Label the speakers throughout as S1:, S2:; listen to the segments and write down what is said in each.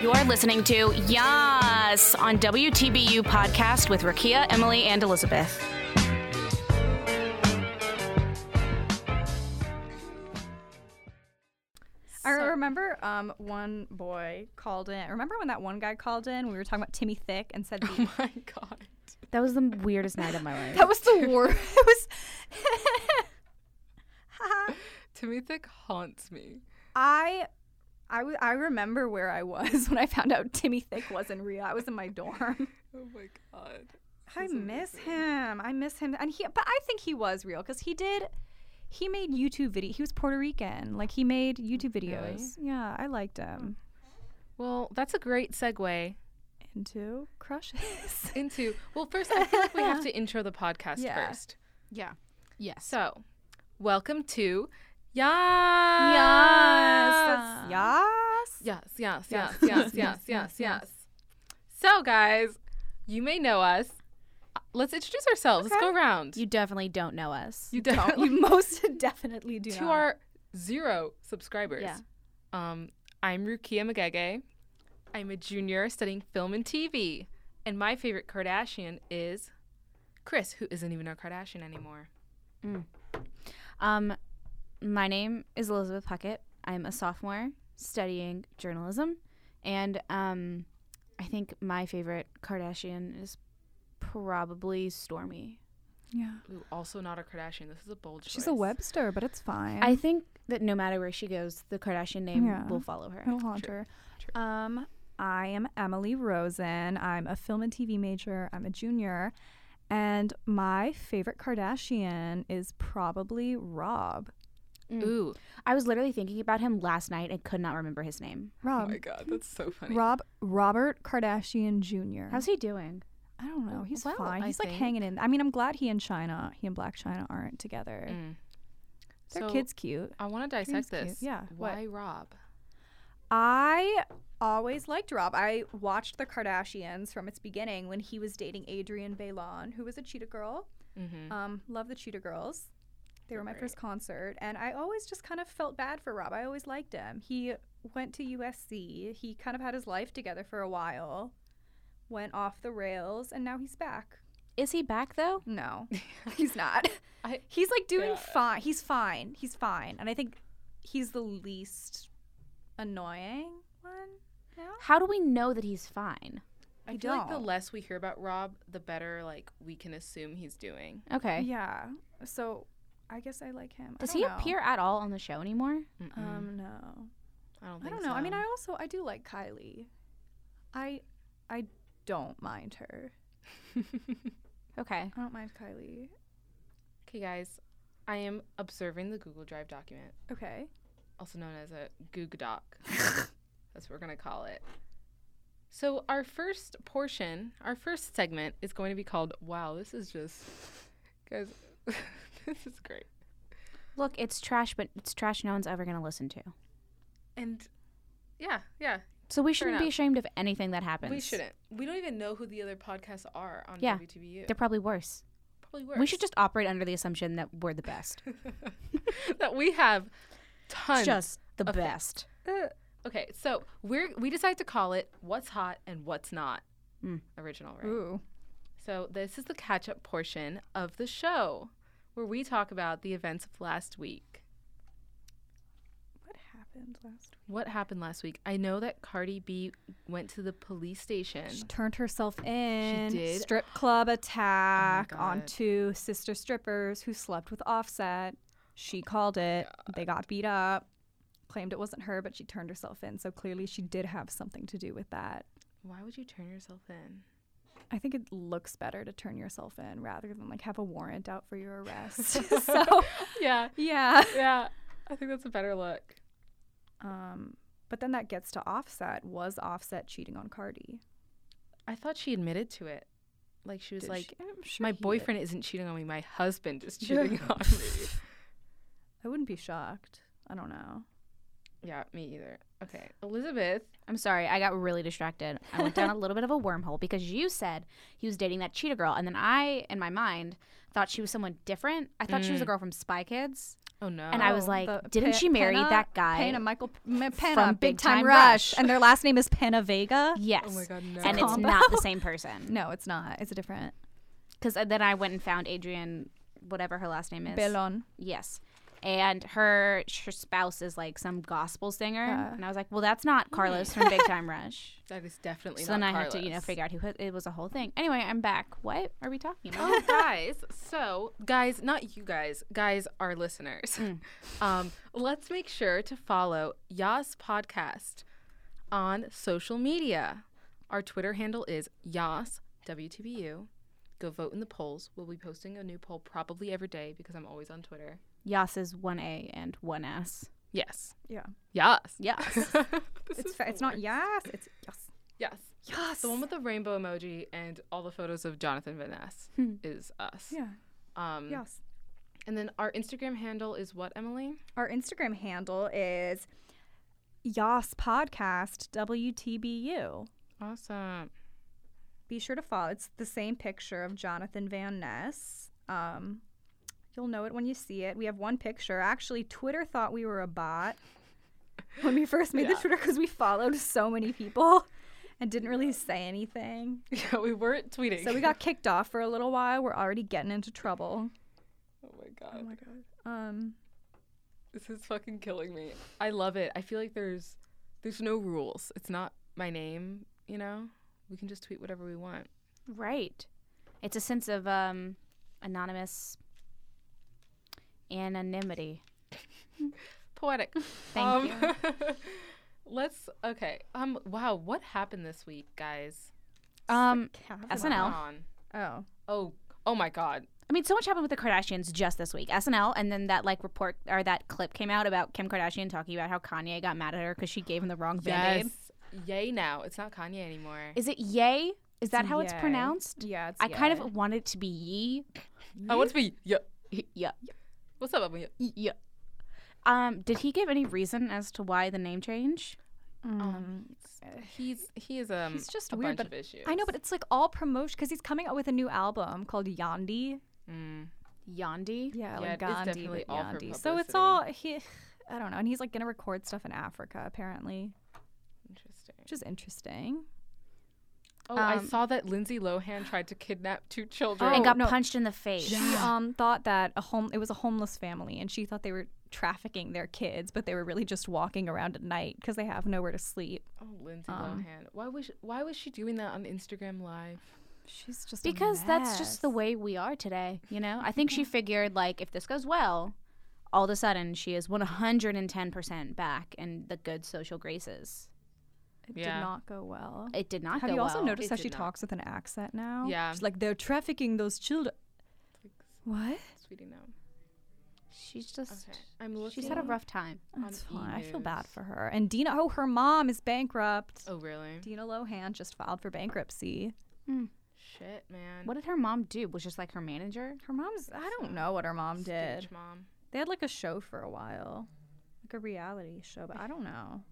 S1: You're listening to Yas on WTBU podcast with Rakia, Emily, and Elizabeth.
S2: I remember um, one boy called in. Remember when that one guy called in? We were talking about Timmy Thick and said the,
S3: Oh my god.
S4: That was the weirdest night of my life.
S2: that was the worst. It was.
S3: Timmy Thick haunts me.
S2: I, I, w- I remember where I was when I found out Timmy Thick wasn't real. I was in my dorm.
S3: Oh my god.
S2: I
S3: That's
S2: miss
S3: amazing.
S2: him. I miss him. And he, but I think he was real because he did. He made YouTube video. He was Puerto Rican. Like he made YouTube videos. Yeah, I liked him.
S3: Well, that's a great segue
S2: Into crushes.
S3: into. Well, first I feel like we have to intro the podcast
S2: Yeah.
S3: first.
S4: yeah. Yes.
S3: So, welcome to
S4: Yas.
S3: Yas.
S2: yes.
S3: Yes, yes, yes, yes, yes, yes, yes. So, guys, you may know us. Uh, Let's introduce ourselves. Let's go around.
S4: You definitely don't know us.
S3: you
S2: Don't. You most definitely do.
S3: to
S2: not.
S3: our zero subscribers.
S4: Yeah.
S3: Um, I'm Rukia Magege. I'm a junior studying film and TV. And my favorite Kardashian is Chris, who isn't even a Kardashian anymore.
S4: Um, my name is Elizabeth Puckett. I'm a sophomore studying journalism, and um, I think my favorite Kardashian is probably Stormy.
S2: Yeah.
S3: Ooh, also not a Kardashian. This is a bold choice.
S2: She's a Webster, but it's fine.
S4: I think that no matter where she goes, the Kardashian name
S2: Yeah.
S4: will follow her.
S2: I'll haunt her. Um, I am Emily Rosen. I'm a film and TV major. I'm a junior, and my favorite Kardashian is probably Rob. Um,
S3: Ooh.
S4: I was literally thinking about him last night and could not remember his name.
S3: Oh
S2: Rob.
S3: my God, that's so funny.
S2: Rob Robert Kardashian Jr.
S4: How's he doing?
S2: I don't know. He's
S3: Well,
S2: fine.
S3: I
S2: He's like
S3: think-
S2: hanging in. I mean, I'm glad he and China, he and Black China aren't together.
S3: Mm.
S2: Their
S3: So,
S2: kid's cute.
S3: I want to dissect
S2: Dream's cute.
S3: this.
S2: Yeah, what?
S3: Why Rob?
S2: I always liked Rob. I watched The Kardashians from its beginning when he was dating Adrienne Bailon, who was a cheetah girl.
S3: Mm-hmm.
S2: Um, love the Cheetah Girls. They were my
S3: Great.
S2: first concert, and I always just kind of felt bad for Rob. I always liked him. He went to USC. He kind of had his life together for a while, went off the rails, and now he's back.
S4: Is he back though?
S2: No, he's not.
S3: I-
S2: he's like doing
S3: Yeah.
S2: fine. He's fine. He's fine, and I think he's the least annoying one. now.
S4: How do we know that he's fine?
S3: I
S2: you
S3: feel like the
S2: don't.
S3: less we hear about Rob, the better like we can assume he's doing.
S4: Okay.
S2: Yeah. So I guess I like him. I
S4: Does
S2: don't
S4: he
S2: know.
S4: appear at all on the show anymore?
S3: Mm-mm.
S2: Um, no.
S3: I don't
S2: I
S3: think
S2: don't know. I mean,
S3: so.
S2: I also I do like Kylie. I I don't mind her.
S4: Okay.
S2: I don't mind Kylie.
S3: Okay, guys, I am observing the Google Drive document,
S2: Okay.
S3: also known as a Goog Doc. That's what we're going to call it. So, our first portion, our first segment is going to be called Wow, this is just, guys, this is great.
S4: Look, it's trash, but it's trash no one's ever going to listen to.
S3: And yeah, yeah,
S4: So we shouldn't be
S3: enough.
S4: ashamed of anything that happens.
S3: we shouldn't. We don't even know who the other podcasts are on
S4: Yeah.
S3: WTBU.
S4: They're probably worse.
S3: probably worse.
S4: We should just operate under the assumption that we're the best.
S3: that we have tons.
S4: just the
S3: of-
S4: best.
S3: Okay, so we're we decided to call it "What's Hot and What's Not"
S4: Hmm.
S3: original, right?
S2: Ooh.
S3: So this is the catch-up portion of the show, where we talk about the events of last week.
S2: What happened last
S3: What happened last week? I know that Cardi B went to the police station.
S2: She turned herself in.
S3: did? Oh
S2: Strip club attack on
S3: God.
S2: two sister strippers who slept with Offset. She called it. They got beat up. Claimed it wasn't her, but she turned herself in. So clearly she did have something to do with that.
S3: Why would you turn yourself in?
S2: I think it looks better to turn yourself in rather than like have a warrant out for your arrest. so
S3: Yeah,
S2: yeah.
S3: yeah. I think that's a better look.
S2: Um, but then that gets to Offset. Was Offset cheating on Cardi?
S3: I thought she admitted to it. Like she was
S2: Did
S3: like,
S2: she- I'm sure
S3: "My
S2: he did.
S3: boyfriend isn't cheating on me. My husband is cheating on me."
S2: I wouldn't be shocked. I don't know.
S3: Yeah, me either. Okay, Elizabeth.
S4: I'm sorry, I got really distracted. I went down a little bit of a wormhole because you said he was dating that
S3: Mm.
S4: cheetah girl, and then I, in my mind, thought she was someone different. I thought she was a girl from Spy Kids,
S3: Oh no.
S4: And I was
S2: Oh,
S4: like,
S2: the
S4: didn't
S2: Pe-
S4: she marry
S2: Penna-
S4: that guy?
S2: Penna, Michael M- Penna,
S4: from
S2: Big, Time, Rush. and their last name is Penna Vega.
S4: yes.
S3: Oh my god, no.
S4: and it's
S2: combo.
S4: not the same person.
S2: No, it's not. It's a different
S4: Because then I went and found Adrian, whatever her last name is.
S2: Belon.
S4: Yes. And her her spouse is like some gospel singer,
S2: Uh.
S4: and I was like, "Well, that's not Carlos from Big Time Rush."
S3: that is definitely
S4: so then
S3: not
S4: I had to, you know,
S3: Carlos.
S4: figure out who it was a whole thing. Anyway, I'm back. What are we talking about?
S3: oh guys so guys not you guys guys are listeners
S2: Mm.
S3: um, let's make sure to follow yas podcast on social media our twitter handle is yas wtbu go vote in the polls we'll be posting a new poll probably every day because i'm always on twitter
S4: Yas is one A and one S.
S3: yes
S2: Yeah.
S3: yas
S4: Yes.
S3: This
S2: It's
S3: is
S2: fa- it's not yes. It's yes.
S3: yes
S2: Yes.
S3: the one with the rainbow emoji and all the photos of jonathan van ness is us
S2: Hmm. yeah.
S3: um,
S2: Yes.
S3: and then our instagram handle is what emily
S2: Our Instagram handle is Yas Podcast WTBU.
S3: Awesome.
S2: Be sure to follow. It's the same picture of Jonathan Van Ness. Um, you'll know it when you see it. We have one picture. Actually, Twitter thought we were a bot when we first made the Twitter because we followed so many people and didn't really say anything.
S3: Yeah, we weren't tweeting.
S2: So we got kicked off for a little while. We're already getting into trouble.
S3: Oh my god.
S2: god. Um,
S3: This is fucking killing me. I love it. I feel like there's there's no rules. It's not my name, you know? We can just tweet whatever we want.
S4: right. It's a sense of um, anonymous anonymity.
S3: Poetic. Um,
S4: Thank you.
S3: let's okay. Um wow, what happened this week, guys?
S4: Um,
S2: Catherine.
S4: That's an L.
S3: Going on?
S2: Oh.
S3: Oh, oh my god.
S4: I mean, so much happened with the Kardashians just this week. SNL, and then that like report or that clip came out about Kim Kardashian talking about how Kanye got mad at her because she gave him the wrong band aid.
S3: Yay now. It's not Kanye anymore.
S4: Is it Yay? Is that how it's
S2: Yay.
S4: pronounced?
S2: Yeah. It's
S4: I kind
S2: yeah.
S4: of want it to be Yee.
S3: I want to be yeah.
S4: Yeah.
S3: What's up, Emily?
S4: Yeah. Um, did he give any reason as to why the name change?
S3: Um, he's he is um
S2: He's just
S3: a
S2: Mm. weird,
S3: bunch
S2: but
S3: of issues.
S2: I know, but it's like all promotion because he's coming out with a new album called Yandi.
S3: Mm.
S4: Yandi.
S2: Yeah,
S3: Yeah,
S2: like
S3: it is
S2: Gandhi,
S3: definitely
S2: but
S3: all for
S2: Yandi. So it's
S3: publicity.
S2: all he. I don't know, and he's like gonna record stuff in Africa apparently,
S3: Interesting.
S2: which is interesting.
S3: Oh, I
S4: Um,
S3: saw that Lindsay Lohan tried to kidnap two children.
S4: And
S2: Oh,
S4: got
S2: no.
S4: punched in the face.
S2: She um thought that a home it was a homeless family, and she thought they were trafficking their kids, but they were really just walking around at night because they have nowhere to sleep.
S3: oh, Lindsay
S2: um,
S3: Lohan. Why was why was she doing that on Instagram Live?
S2: She's just a
S4: Because that's just the
S2: mess.
S4: way we are today, you know? I think she figured, like, if this goes well, all of a sudden she is 110% back in the good social graces.
S2: it
S3: Yeah.
S2: did not go well.
S4: It did not
S2: Have
S4: go
S2: you also
S4: well.
S2: noticed
S3: It
S2: how
S3: did
S2: she
S3: not.
S2: talks with an accent now?
S3: Yeah.
S2: she's like they're trafficking those children. What?
S3: Sweetie, no.
S4: She's just,
S3: Okay, I'm looking.
S4: she's had a rough time.
S3: on E
S2: That's fine. I feel
S3: e-news.
S2: bad for her. And Dina, oh, her mom is bankrupt.
S3: Oh really?
S2: Dina Lohan just filed for bankruptcy.
S3: Shit, man.
S4: What did her mom do? Was just like her manager?
S2: Her mom's, I don't know what her mom
S3: Bitch,
S2: did.
S3: mom?
S2: They had like a show for a while, like a reality show, but I don't know.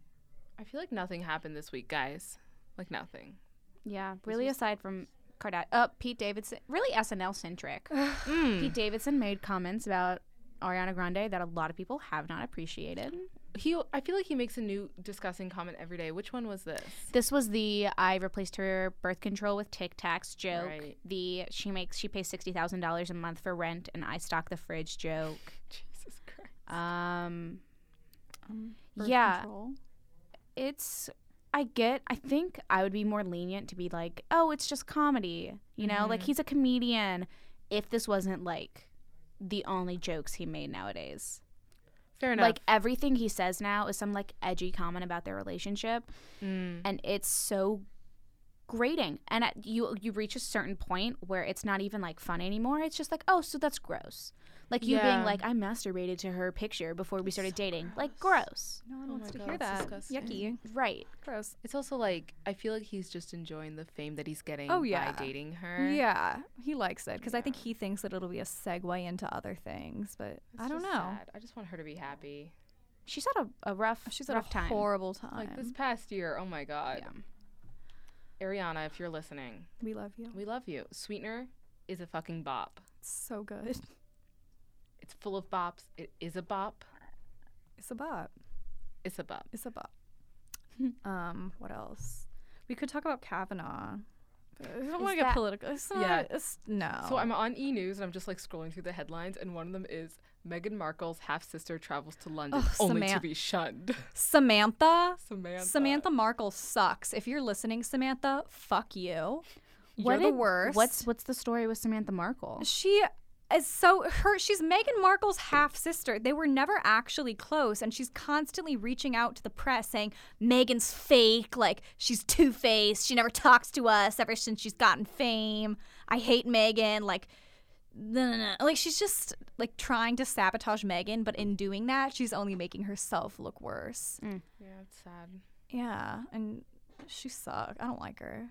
S3: I feel like nothing happened this week, guys. Like nothing.
S4: Yeah, really aside from Kardashian. Uh, Pete Davidson, really SNL centric. Pete Davidson made comments about Ariana Grande that a lot of people have not appreciated.
S3: He, I feel like he makes a new disgusting comment every day. Which one was this?
S4: This was the I replaced her birth control with Tic Tacs joke.
S3: Right.
S4: The she makes she pays sixty thousand dollars a month for rent and I stock the fridge joke.
S3: Jesus Christ.
S4: Um,
S2: Um, Birth
S4: yeah,
S2: control.
S4: it's I get. I think I would be more lenient to be like, oh, it's just comedy, you know, like he's a comedian. If this wasn't like the only jokes he made nowadays.
S3: Fair enough.
S4: Like e-, everything he says now is some like edgy comment about their relationship,
S3: Mm.
S4: and it's so grating. And at, you you reach a certain point where it's not even like fun anymore. It's just like, oh, so that's gross. Like you
S3: Yeah.
S4: being like, I masturbated to her picture before we started dating. Like gross,
S2: No one
S3: Oh
S2: wants
S3: my
S2: to
S3: God,
S2: hear that.
S3: that's disgusting.
S2: Yucky.
S4: right?
S2: Gross.
S3: It's also like I feel like he's just enjoying the fame that he's getting
S2: Oh, yeah.
S3: by dating her.
S2: Yeah, he likes it because I think he thinks that it'll be a segue into other things, but
S3: It's
S2: I don't know.
S3: just sad. I just want her to be happy.
S4: She's had a, a rough
S2: She's had a
S4: rough time.
S2: horrible time.
S3: Like this past year, oh my god.
S4: Yeah.
S3: Ariana, if you're listening,
S2: we love you.
S3: we love you. Sweetener is a fucking bop.
S2: It's so good.
S3: It's full of bops. It is a bop.
S2: It's a bop.
S3: It's a bop.
S2: It's a bop. um, what else? We could talk about Kavanaugh. I don't want to get
S4: that-
S2: political. It's not,
S3: Yeah.
S2: it's, no.
S3: So I'm on E News and I'm just like scrolling through the headlines, and one of them is Meghan Markle's half sister travels to London
S2: Ugh,
S3: only to
S2: Saman-
S3: be shunned.
S2: Samantha.
S3: Samantha.
S2: Samantha Markle sucks. If you're listening, Samantha, fuck you. You're the
S4: did-
S2: worst.
S4: What's what's the story with Samantha Markle?
S2: She is so her she's Meghan Markle's half sister. They were never actually close and she's constantly reaching out to the press saying Meghan's fake, like she's two-faced. She never talks to us ever since she's gotten fame. I hate Meghan, like no, no, no. Like she's just like trying to sabotage Meghan, but in doing that, she's only making herself look worse.
S3: Yeah, it's sad.
S2: Yeah, and she sucked. I don't like her.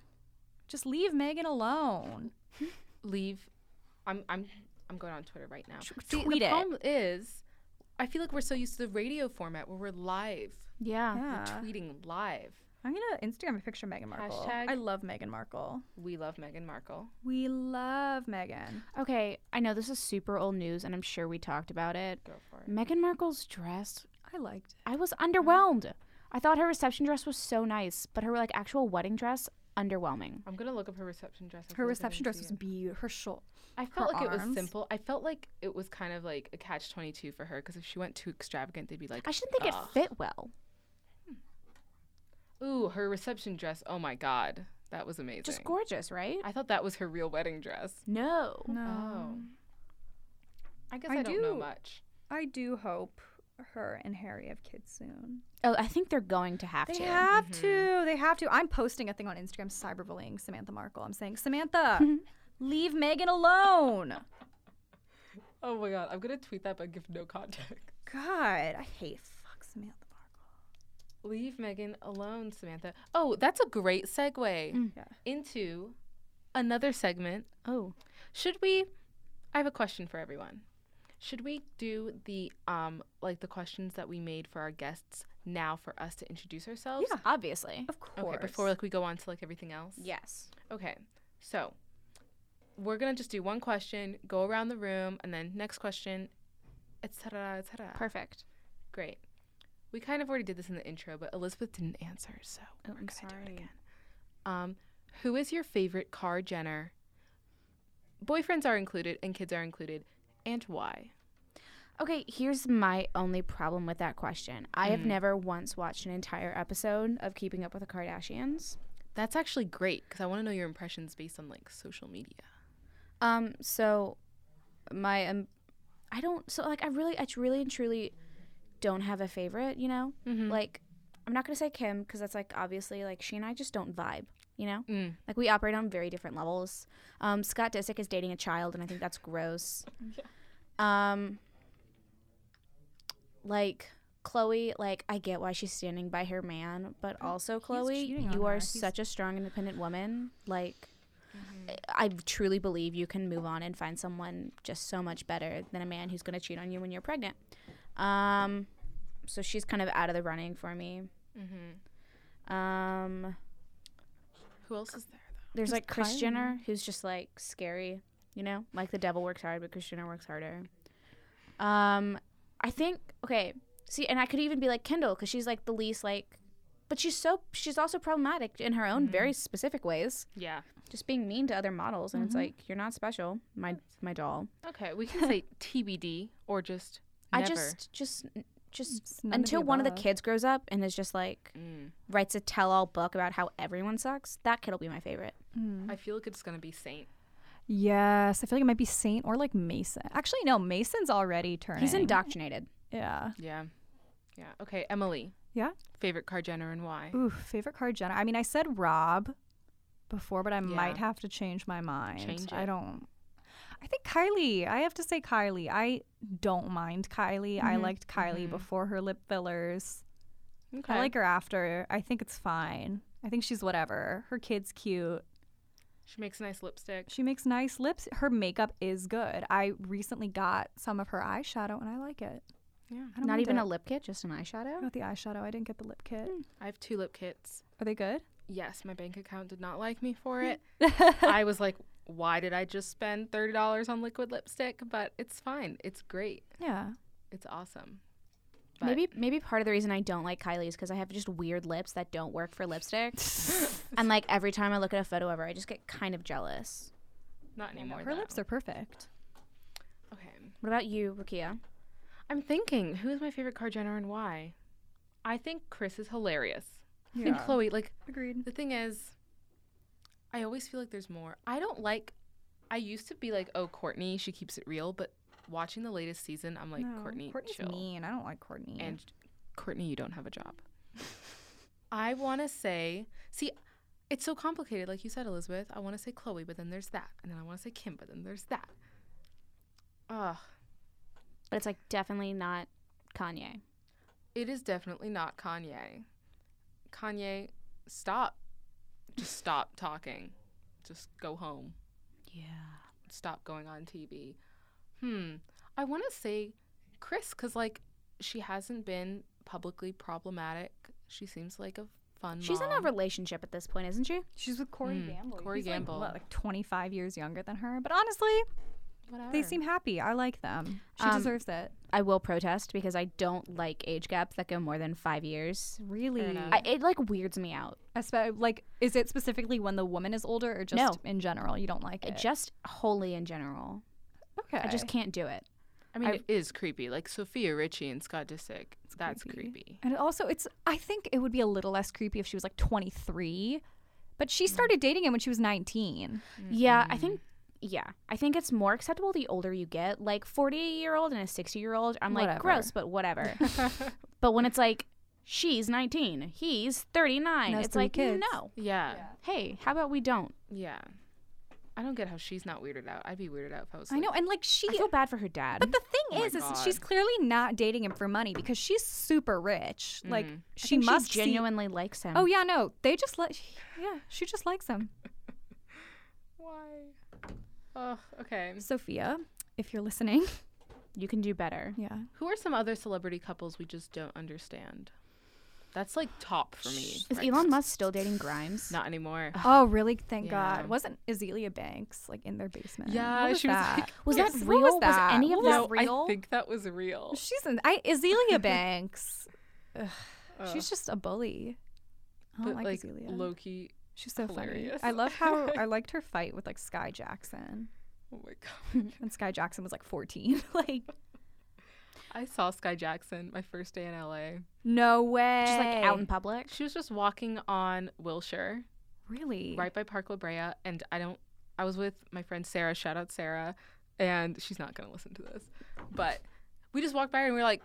S2: Just leave Megan alone.
S3: Leave. I'm I'm I'm going on Twitter right now.
S2: tweet
S3: the
S2: it.
S3: problem is, I feel like we're so used to the radio format where we're live,
S4: yeah.
S2: Yeah.
S3: tweeting live.
S2: I'm gonna Instagram a picture of Meghan Markle.
S3: Hashtag-
S2: I love Meghan Markle.
S3: We love Meghan Markle.
S2: We love Meghan.
S4: Okay, I know this is super old news, and I'm sure we talked about it.
S3: Go for it.
S4: Meghan Markle's dress,
S2: I liked it.
S4: I was underwhelmed. I thought her reception dress was so nice, but her like actual wedding dress, underwhelming.
S3: I'm gonna look up her reception dress. I feel
S2: Her
S3: like I
S2: reception dress
S3: didn't see
S2: was
S3: it.
S2: beautiful. Her short.
S3: I felt
S2: her
S3: like it was
S2: arms.
S3: simple. I felt like it was kind of like a catch twenty two for her because if she went too extravagant, they'd be like,
S4: I should think
S3: "Ugh."
S4: it fit well.
S3: Ooh, her reception dress. Oh my god, that was amazing.
S4: Just gorgeous, right?
S3: I thought that was her real wedding dress.
S4: no.
S3: Oh.
S4: Um,
S3: I guess I,
S2: I
S3: don't know
S2: do-
S3: much.
S2: I do hope her and Harry have kids soon.
S4: Oh, I think they're going to have
S2: They
S4: to.
S2: have
S3: Mm-hmm.
S2: to. They have to. I'm posting a thing on Instagram cyberbullying Samantha Markle. I'm saying, Samantha, leave Megan alone.
S3: Oh my god, I'm gonna tweet that but give no context.
S2: God, I hate fuck Samantha Markle.
S3: Leave Megan alone, Samantha. Oh, that's a great segue
S4: Mm-hmm.
S2: Yeah.
S3: into another segment.
S4: oh.
S3: Should we? I have a question for everyone. Should we do the um like the questions that we made for our guests now for us to introduce ourselves?
S2: Yeah.
S4: Obviously.
S2: Of course.
S3: Okay, before like we go on to like everything else.
S4: Yes.
S3: Okay, so we're gonna just do one question, go around the room, and then next question, etc. etc.
S4: Perfect.
S3: Great. We kind of already did this in the intro, but Elizabeth didn't answer, so
S4: Oh,
S3: we're
S4: I'm
S3: gonna do
S4: sorry.
S3: it again. Um, who is your favorite car Jenner? Boyfriends are included and kids are included, and why?
S4: Okay, here's my only problem with that question. I have never once watched an entire episode of Keeping Up with the Kardashians.
S3: That's actually great because I want to know your impressions based on like social media.
S4: Um, so my um, I don't so like I really I really and truly don't have a favorite. You know, like I'm not gonna say Kim because that's like obviously like she and I just don't vibe. You know,
S3: Mm.
S4: like we operate on very different levels. Um, Scott Disick is dating a child, and I think that's gross. Um, like Chloe, like I get why she's standing by her man, but also Chloe,
S2: cheating on
S4: you are
S2: her. He's-
S4: such a strong, independent woman. Like,
S2: Mm-hmm.
S4: eh, I I truly believe you can move on and find someone just so much better than a man who's going to cheat on you when you're pregnant. Um, so she's kind of out of the running for me.
S2: Mm-hmm.
S4: Um,
S3: Who else is there though?
S4: there's
S2: Just
S4: like Chris
S2: Kylie.
S4: Jenner, who's just like scary, you know, like the devil works hard, but Chris Jenner works harder. Um, I think okay. See, and I could even be like Kendall because she's like the least like, but she's so she's also problematic in her own
S2: Mm-hmm.
S4: very specific ways,
S3: Yeah.
S4: just being mean to other models, and it's
S2: Mm-hmm.
S4: like you're not special, my my doll.
S3: Okay, we can say TBD or just never.
S4: I just just just
S2: It's none of
S4: until
S2: the
S4: one of the
S2: above.
S4: kids grows up and is just like
S3: Mm.
S4: writes a tell-all book about how everyone sucks. That kid'll be my favorite.
S3: I feel like it's gonna be Saint.
S2: Yes, I feel like it might be Saint or like Mason. Actually, no, Mason's already turning.
S4: He's indoctrinated.
S2: Yeah.
S3: Yeah. Yeah. Okay, Emily.
S2: Yeah.
S3: Favorite car Jenner and why?
S2: Ooh, favorite card Jenner. I mean, I said Rob before, but I might
S3: Yeah.
S2: have to change my mind.
S3: Change
S2: I
S3: it.
S2: don't. I think Kylie. I have to say Kylie. I don't mind Kylie.
S3: Mm-hmm,
S2: I liked Kylie before her lip fillers.
S3: Okay.
S2: I like her after. I think it's fine. I think she's whatever. Her kid's cute.
S3: She makes nice lipstick.
S2: She makes nice lips. Her makeup is good. I recently got some of her eyeshadow and I like it.
S3: Yeah.
S2: I don't
S4: Not
S2: mind
S4: even
S2: it.
S4: a lip kit, just an eyeshadow.
S2: I got the eyeshadow. I didn't get the lip kit.
S3: I have two lip kits.
S2: Are they good?
S3: Yes, my bank account did not like me for it. I was like, why did I just spend $30 on liquid lipstick? But it's fine. It's great.
S2: Yeah.
S3: It's awesome. But-
S4: Maybe maybe part of the reason I don't like Kylie is because I have just weird lips that don't work for lipstick, and like every time I look at a photo of her, I just get kind of jealous.
S3: Not anymore.
S2: Her lips
S3: though.
S2: are perfect.
S3: Okay.
S4: What about you, Rukia?
S3: I'm thinking, who is my favorite card Jenner and why? I think Chris is hilarious. And
S2: Yeah.
S3: Chloe, like,
S2: Agreed.
S3: the thing is, I always feel like there's more. I don't like, I used to be like, oh, Courtney, she keeps it real, but watching the latest season, I'm like,
S2: No,
S3: Courtney,
S2: Courtney's
S3: chill.
S2: mean. I don't like Courtney.
S3: And Courtney, you don't have a job. I want to say, see, it's so complicated. Like you said, Elizabeth, I want to say Chloe, but then there's that. And then I want to say Kim, but then there's that. Ugh.
S4: But it's like definitely not Kanye.
S3: It is definitely not Kanye. Kanye, stop. Just stop talking. Just go home.
S4: Yeah.
S3: Stop going on TV. Hmm. I want to say Chris because, like, she hasn't been publicly problematic. She seems like a fun
S4: She's in a
S3: mom.
S4: relationship at this point, isn't she?
S2: she's with Corey
S3: Mm,
S2: Gamble.
S3: Corey
S2: He's, like,
S3: Gamble.
S2: what, like 25 years younger than her. But honestly,
S3: Whatever.
S2: they seem happy. I like them. She
S4: Um,
S2: deserves it.
S4: I will protest because I don't like age gaps that go more than five years.
S2: Really?
S3: enough.
S4: I, it like weirds me out.
S2: Espe- like, is it specifically when the woman is older or just
S4: No.
S2: in general? You don't like it?
S4: Just wholly in general,
S2: okay.
S4: I just can't do it.
S3: I mean,
S4: I-
S3: it is creepy. Like Sophia Richie and Scott Disick. That's creepy.
S2: And it also, it's I think it would be a little less creepy if she was like 23, but she started dating him when she was 19.
S4: Yeah, I think. Yeah, I think it's more acceptable the older you get. Like forty year old and a sixty year old, I'm like
S2: Whatever.
S4: gross, but whatever. but when it's like she's nineteen, he's thirty nine,
S2: And has
S4: it's
S2: three
S4: like
S2: kids.
S4: no.
S3: Yeah.
S4: Hey, how about we don't?
S3: Yeah. I don't get how she's not weirded out. I'd be weirded out if I was.
S2: I
S3: like,
S2: know, and like she.
S4: I feel bad for her dad.
S2: But the thing
S3: Oh my
S2: is, is
S3: God.
S2: she's clearly not dating him for money because she's super rich. Like
S3: Mhm.
S4: I
S2: she
S4: think
S2: must see-
S4: genuinely likes him.
S2: Oh yeah, no, they just like yeah, she just likes him.
S3: Why? Oh, okay.
S2: Sophia, if you're listening,
S4: you can do better.
S2: yeah,
S3: Who are some other celebrity couples we just don't understand? That's like top for me.
S4: Is
S3: right
S4: Elon
S3: now.
S4: Musk still dating Grimes?
S3: Not anymore.
S2: Oh, really? Thank
S3: Yeah.
S2: God. Wasn't Azealia Banks like in their basement?
S3: Yeah,
S2: What was
S3: she was,
S2: that?
S3: like-
S4: Was
S2: Yes,
S4: that
S2: what
S4: real?
S2: was
S4: Was,
S2: that?
S4: any of
S2: What
S4: this
S3: no,
S4: real?
S3: I think that was real.
S2: She's in. I Azealia Banks. Ugh,
S3: Ugh.
S2: she's just a bully. I
S3: Uh. but
S2: don't like,
S3: like
S2: Azealia.
S3: Loki.
S2: she's so
S3: hilarious.
S2: funny. I love how I liked her fight with like Sky Jackson,
S3: Oh my god.
S2: and Sky Jackson was like 14. like
S3: I saw Sky Jackson my first day in LA.
S2: no way.
S4: Just like out in public.
S3: She was just walking on Wilshire.
S2: Really?
S3: right by Park La Brea, and I don't. I was with my friend Sarah. Shout out Sarah, and she's not gonna listen to this, but we just walked by her and we were like,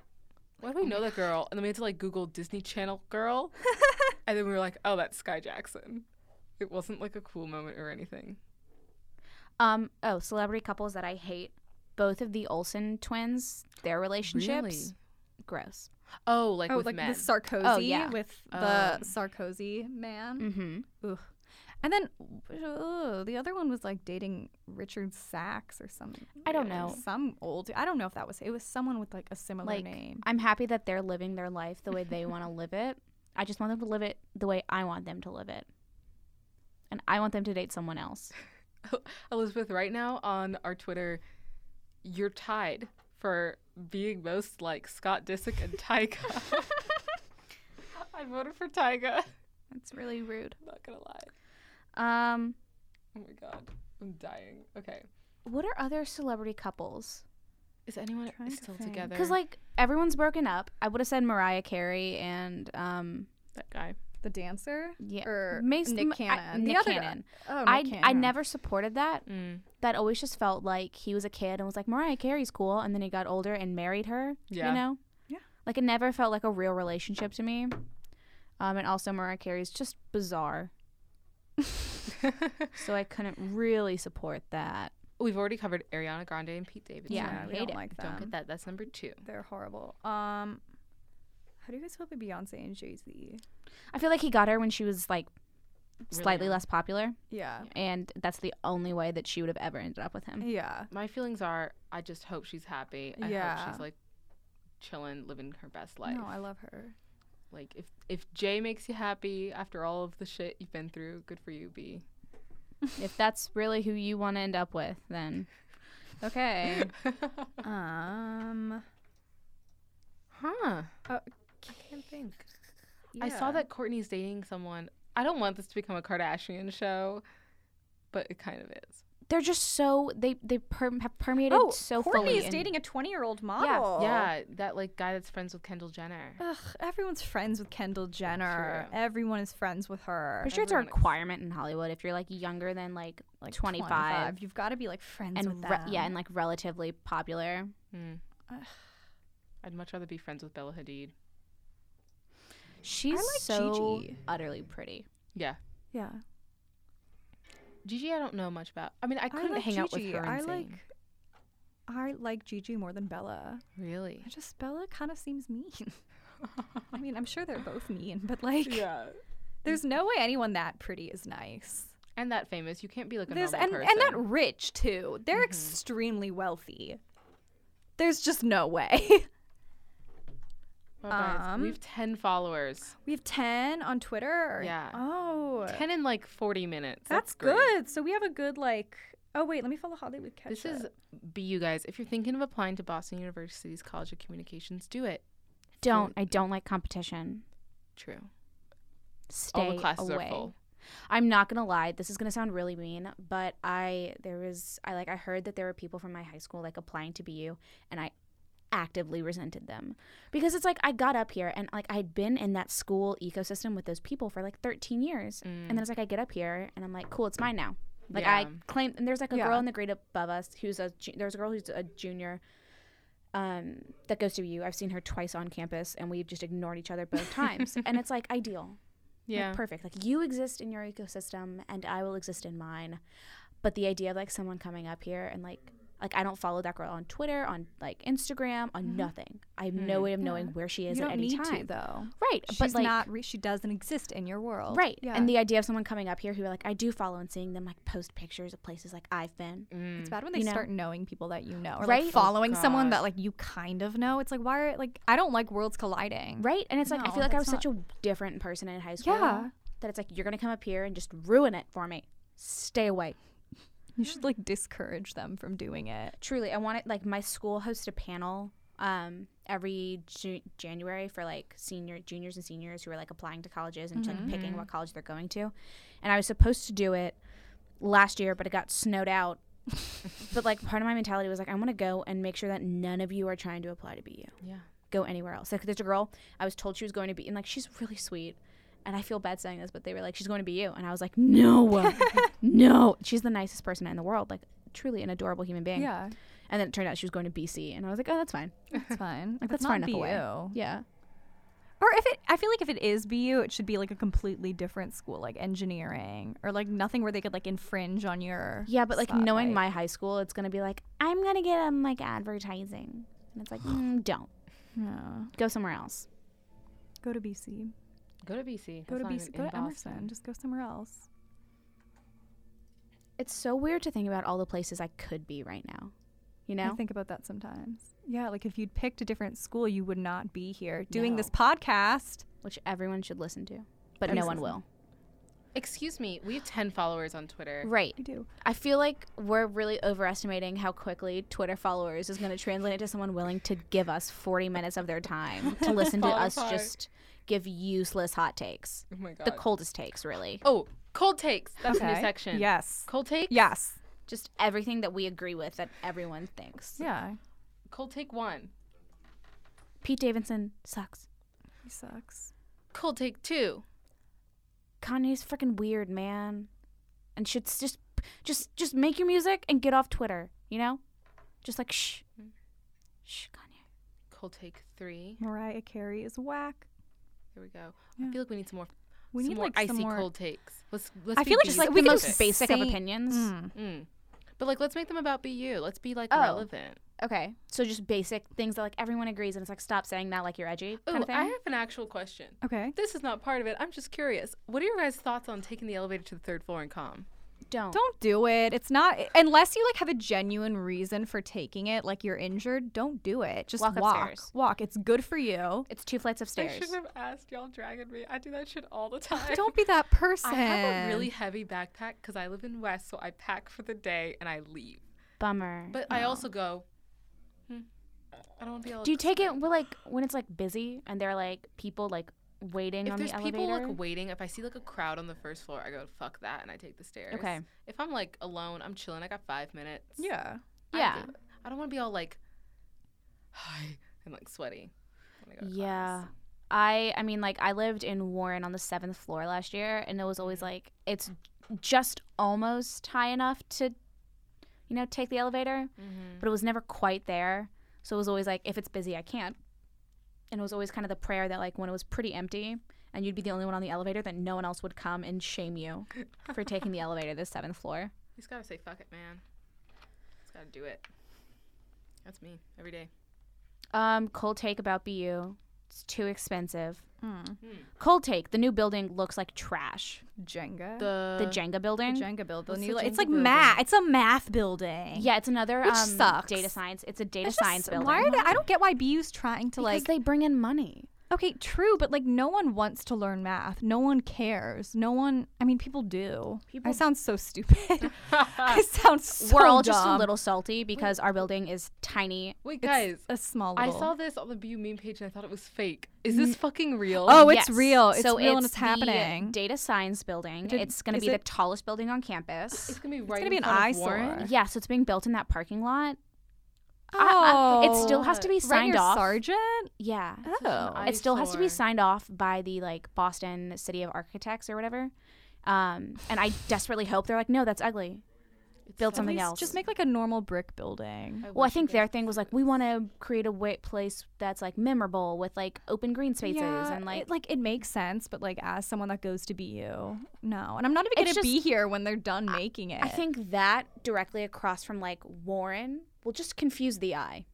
S3: "Why do we know that girl?" And then we had to like Google Disney Channel girl, and then we were like, "Oh, that's Sky Jackson." It wasn't like a cool moment or anything.
S4: Um. Oh, celebrity couples that I hate. Both of the Olsen twins, their relationships, gross.
S3: Oh, like
S2: Oh,
S3: with
S2: like
S3: men.
S2: the Sarkozy
S4: Oh, yeah.
S2: with the
S3: Um,
S2: Sarkozy man.
S4: Mm-hmm.
S2: Ugh. And then ugh, the other one was like dating Richard Sachs or something.
S4: I don't know.
S2: Some old. I don't know if that was. It was someone with like a similar
S4: Like,
S2: name.
S4: I'm happy that they're living their life the way they want to live it. I just want them to live it the way I want them to live it, and I want them to date someone else.
S3: Elizabeth, right now on our Twitter, you're tied for being most like Scott Disick and Tyga. I voted for Tyga.
S4: That's really rude.
S3: Not gonna lie.
S4: Um.
S3: Oh my god, I'm dying. Okay.
S4: What are other celebrity couples?
S3: Is anyone
S2: trying to
S3: still
S2: think.
S3: together?
S4: Because like everyone's broken up. I would have said Mariah Carey and um
S3: that guy.
S2: The dancer.
S4: yeah
S2: Or
S4: Mace-
S2: Er, Nick
S4: Ma- I-
S2: Cannon.
S4: Nick
S2: the other
S4: Cannon.
S2: Oh, Nick
S4: I I
S2: Cannon.
S4: never supported that.
S3: Mm.
S4: That always just felt like he was a kid and was like Mariah Carey's cool, and then he got older and married her.
S3: Yeah.
S4: You know.
S2: Yeah.
S4: Like it never felt like a real relationship to me. Um, and also Mariah Carey's just bizarre, so I couldn't really support that.
S3: We've already covered Ariana Grande and Pete Davidson.
S4: Yeah,
S2: Yeah,
S4: I
S2: we
S4: hate
S2: don't
S4: it.
S2: like them.
S3: Don't get that. That's number two.
S2: They're horrible. Um, how do you guys feel about Beyonce and Jay Z?
S4: I feel like he got her when she was like slightly
S3: young.
S4: less popular,
S2: Yeah.
S4: and that's the only way that she would have ever ended up with him.
S2: Yeah.
S3: My feelings are I just hope she's happy. I hope
S2: Yeah.
S3: she's like chilling, living her best life.
S2: No, I love her.
S3: like if if Jay makes you happy after all of the shit you've been through, good for you, B.
S2: Mm.
S4: if that's really who you want to end up with, then okay.
S2: Um,
S3: huh.
S2: Uh,
S3: I can't think. I saw that Courtney's dating someone. I don't want this to become a Kardashian show, but it kind of is.
S4: They're just so they they per- have permeated
S2: Oh,
S4: so fully.
S2: Courtney's
S4: in-
S2: dating a 20 year old model.
S3: Yeah, that like guy that's friends with Kendall Jenner.
S2: Ugh, everyone's friends with Kendall Jenner.
S3: True.
S2: Everyone is friends with her.
S4: Pretty sure it's a
S3: everyone ex-
S4: requirement in Hollywood if you're like younger than like like 25,
S2: 25. You've got to be like friends with
S4: and re-
S2: them.
S4: yeah, and like relatively popular.
S3: Mm.
S2: Ugh.
S3: I'd much rather be friends with Bella Hadid.
S4: She's
S2: like
S4: so
S2: Gigi.
S4: utterly pretty.
S3: Yeah,
S2: yeah.
S3: Gigi, I don't know much about. I mean, I couldn't
S2: like
S3: hang out with
S2: Gigi.
S3: her. And
S2: I
S3: sing.
S2: like. I like Gigi more than Bella.
S3: really.
S2: I just Bella kind of seems mean. I mean, I'm sure they're both mean, but like, there's no way anyone that pretty is nice.
S3: and that famous. You can't be like a
S2: There's
S3: normal
S2: and
S3: person. Mm-hmm.
S2: and that rich too. They're extremely wealthy. There's just no way.
S3: Well, Oh, guys,
S2: um,
S3: we have ten followers.
S2: we have ten on Twitter.
S3: Yeah.
S2: Oh,
S3: Ten in like forty minutes.
S2: that's
S3: great.
S2: good. So we have a good like. Oh wait, let me follow Holly with catch.
S3: This is BU guys. If you're thinking of applying to Boston University's College of Communications, do it.
S4: Don't I don't like competition.
S3: True.
S4: Stay
S3: All the classes
S4: away.
S3: are full.
S4: I'm not gonna lie. This is gonna sound really mean, but I there was I like I heard that there were people from my high school like applying to BU, and I actively resented them because it's like I got up here and like I had been in that school ecosystem with those people for like 13 years, and then it's like I get up here and I'm like, cool, it's mine now. Like I
S3: Yeah.
S4: claim, and there's like a
S2: Yeah.
S4: girl in the grade above us who's a ju- there's a girl who's a junior. Um, that goes to BU. I've seen her twice on campus, and we've just ignored each other both times. and it's like ideal. Like,
S3: Yeah.
S4: perfect. Like you exist in your ecosystem and I will exist in mine. But the idea of like someone coming up here and like like I don't follow that girl on Twitter, on like Instagram, on nothing. I have no way of knowing where she is
S2: you
S4: at
S2: don't
S4: any
S2: need
S4: time.
S2: to though.
S4: Right.
S2: She's
S4: but like
S2: not. Re- she doesn't exist in your world.
S4: Right.
S2: Yeah.
S4: And the idea of someone coming up here who like I do follow and seeing them like post pictures of places like I've been.
S2: It's bad when they
S4: You know?
S2: start knowing people that you know, or
S4: Right?
S2: like
S4: Oh,
S2: following someone
S3: God.
S2: that like you kind of know. It's like why are like I don't like worlds colliding.
S4: Right? And it's like I
S2: No,
S4: feel like I was
S2: that's
S4: such a different person in high school.
S2: Yeah.
S4: That it's like you're gonna come up here and just ruin it for me. Stay away.
S2: You should like discourage them from doing it.
S4: truly i wanted like my school hosts a panel um every Ju- january for like senior juniors and seniors who are like applying to colleges and like picking what college they're going to and i was supposed to do it last year but it got snowed out but like part of my mentality was like i want to go and make sure that none of you are trying to apply to be you
S3: Yeah.
S4: go anywhere else like there's a girl i was told she was going to be and like she's really sweet and I feel bad saying this, but they were like, "She's going to be you," and I was like, "No, no." She's the nicest person in the world, like truly an adorable human being.
S2: Yeah,
S4: And then it turned out she was going to BC, and I was like, oh, that's fine.
S2: it's fine.
S4: Like,
S2: That's
S4: that's far
S2: not
S4: enough away.
S2: BU.
S4: Yeah.
S2: Or if it, I feel like if it is BU, it should be like a completely different school, like engineering or like nothing where they could like infringe on your.
S4: Yeah, but like knowing
S2: spotlight.
S4: my high school, it's going to be like, I'm going to get um, like advertising. And it's like, mm, don't.
S2: No.
S4: Go somewhere else.
S2: Go to BC.
S3: Go to BC.
S2: Go to
S3: That's not
S2: BC.
S3: even
S2: Go
S3: in
S2: to Emerson.
S3: Boston.
S2: Just go somewhere else.
S4: It's so weird to think about all the places I could be right now. You
S2: I
S4: know?
S2: think about that sometimes. Yeah, like if you'd picked a different school, you would not be here doing
S4: No.
S2: this podcast.
S4: Which everyone should listen to, but no one will.
S3: Excuse me. We have ten followers on Twitter.
S4: Right.
S2: I do.
S4: I feel like we're really overestimating how quickly Twitter followers is going to translate to someone willing to give us 40 minutes of their time to listen to us
S3: Qualify.
S4: just give useless hot takes.
S3: Oh my god.
S4: The coldest takes, really.
S3: oh, cold takes. That's a new
S2: Okay.
S3: section.
S2: Yes.
S3: Cold take.
S2: Yes.
S4: just everything that we agree with that everyone thinks.
S2: Yeah.
S3: Cold take one.
S4: Pete Davidson sucks.
S2: He sucks.
S3: Cold take two.
S4: Kanye's freaking weird, man. And should s- just just just make your music and get off Twitter, you know? Just like shh. Shh, Kanye.
S3: Cold take three.
S2: Mariah Carey is whack.
S3: Here we go.
S2: Yeah.
S3: I feel like we need some more.
S2: We
S3: some
S2: need
S3: more
S2: like
S3: icy
S2: some more.
S3: cold takes. Let's. let's
S2: I
S3: be
S2: feel like
S3: BU
S4: Just like
S2: we
S4: the
S2: could
S4: most
S2: just
S4: basic of
S2: say-
S4: opinions.
S2: Mm.
S3: Mm. But like, let's make them about BU. Let's be like
S4: Oh.
S3: relevant.
S4: Okay. So just basic things that like everyone agrees and it's like stop saying that like you're edgy.
S3: Ooh,
S4: kind of thing.
S3: I have an actual question.
S2: Okay.
S3: This is not part of it. I'm just curious. What are your guys' thoughts on taking the elevator to the third floor and calm?
S4: Don't.
S2: Don't do it. It's not unless you like have a genuine reason for taking it, like you're injured, don't do it. Just
S4: Walk
S2: walk. Walk.
S4: upstairs.
S2: It's good for you.
S4: It's two flights of
S3: I
S4: stairs.
S3: should have asked y'all dragging me. I do that shit all the time.
S2: Don't be that person.
S3: I have a really heavy backpack because I live in West, so I pack for the day and I leave.
S4: Bummer.
S3: But I also go. "Hmm, I don't want to be able.
S4: do you
S3: to
S4: take it when, like when it's like busy and there are like people like waiting
S3: If
S4: on
S3: there's
S4: the elevator?
S3: people like waiting, if I see like a crowd on the first floor, I go fuck that and I take the stairs.
S4: Okay.
S3: If I'm like alone, I'm chilling. I got five minutes.
S2: yeah.
S3: I
S4: Yeah.
S3: do it. I don't want to be all like, hi and like sweaty. when I go to
S4: Yeah.
S3: class.
S4: I I mean like I lived in Warren on the 7th floor last year and it was
S3: Mm.
S4: always like it's just almost high enough to you know take the elevator,
S3: Mm-hmm.
S4: but
S3: Mm.
S4: it was never quite there. So it was always like if it's busy I can't. And it was always kind of the prayer that like when it was pretty empty and you'd be the only one on the elevator that no one else would come and shame you for taking the elevator to the 7th floor.
S3: You just gotta say fuck it, man. Just gotta do it. That's me every day.
S4: Um cold take about BU. It's too expensive.
S3: Hmm.
S2: Mm.
S4: Cold take, the new building looks like trash.
S2: Jenga.
S4: The
S3: Uh, The
S4: Jenga building.
S2: Jenga building.
S3: the
S2: You like-
S3: Jenga
S2: it's like
S3: building?
S2: math. It's a math building.
S4: Yeah, it's another
S2: Which
S4: um,
S2: sucks.
S4: data science. It's a data
S2: It's just-
S4: science building.
S2: Why are they, I don't get why BU's trying to
S4: because
S2: like.
S4: they bring in money.
S2: okay, true, but like no one wants to learn math. No one cares. No one. I mean, people do. I sound so stupid. I sound so
S4: We're all just a
S2: dumb.
S4: little salty because our building is tiny.
S3: Wait,
S2: It's
S3: guys.
S2: a small.
S3: I
S2: Little.
S3: saw this on the Bu meme page and I thought it was fake. Is
S4: Mm.
S3: this fucking real?
S2: Oh, it's
S4: Yes.
S2: real. It's
S4: so
S2: real and
S4: it's
S2: it's happening.
S4: The data science building.
S2: Did-
S4: it's going to
S2: is
S4: be the
S2: it-
S4: tallest building on campus.
S3: it's gonna be right.
S2: gonna be
S3: in
S2: an
S3: front of
S2: eyesore.
S3: Warren.
S4: Yeah, so it's being built in that parking lot. I- I- it still has to be
S2: Rent
S4: signed
S2: your
S4: off.
S2: sergeant.
S4: Yeah.
S2: Oh,
S4: It still has to be
S3: Eyesore.
S4: signed off by the like Boston City of Architects or whatever. Um, and I desperately hope they're like, no, that's ugly.
S3: It's
S4: Build
S3: so-
S4: something
S2: Please
S4: else.
S2: Just make like a normal brick building.
S3: wish
S4: Well, I
S3: you
S4: think
S3: guys
S4: their
S3: could
S4: thing was
S3: see
S4: like,
S3: this.
S4: we want to create a wa place that's like memorable with like open green spaces and like,
S2: it, like it makes sense, but like as someone that goes to BU, no. And I'm not even
S4: It's
S2: gonna be
S4: just-
S2: here when they're done making it.
S4: I think that directly across from like Warren will just confuse the eye.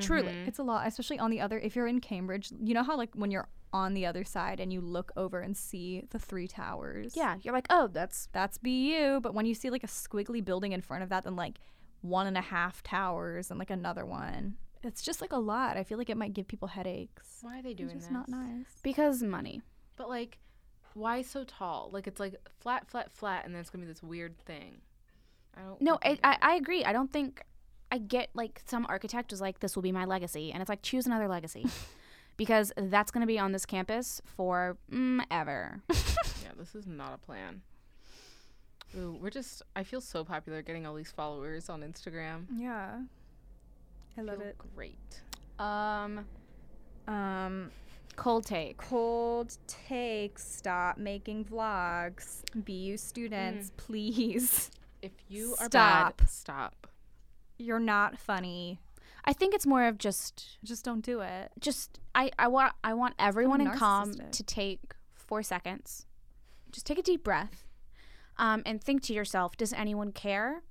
S4: Truly.
S3: Mhm.
S2: it's a lot, especially on the other. If you're in Cambridge, you know how like when you're on the other side and you look over and see the three towers.
S4: Yeah. You're like, oh, that's
S2: that's BU. But when you see like a squiggly building in front of that, then like one and a half towers and like another one, it's just like a lot. I feel like it might give people headaches.
S3: Why are they doing
S2: It's
S3: this?
S2: just not nice.
S4: because money.
S3: But like, why so tall? Like it's like flat, flat, flat, and then it's gonna be this weird thing. I don't.
S4: No,
S3: fucking
S4: I, I, I agree. I don't think I get like some architect is like, this will be my legacy. And it's like, choose another legacy because that's going to be on this campus for mm, ever.
S3: get it. yeah, this is not a plan. Ooh, we're just. I feel so popular getting all these followers on Instagram.
S4: Mm,
S2: Yeah. I
S3: feel
S2: love it.
S3: Great.
S4: um,
S2: Um,
S4: cold take.
S2: cold takes. Stop making vlogs. BU students, please.
S3: If you are
S2: Stop.
S3: bad, stop.
S2: You're not funny.
S4: I think it's more of just
S2: Just don't do it.
S4: just I, I want I want everyone in calm
S2: narcissistic.
S4: to take four seconds. Just take a deep breath, um, and think to yourself: Does anyone care?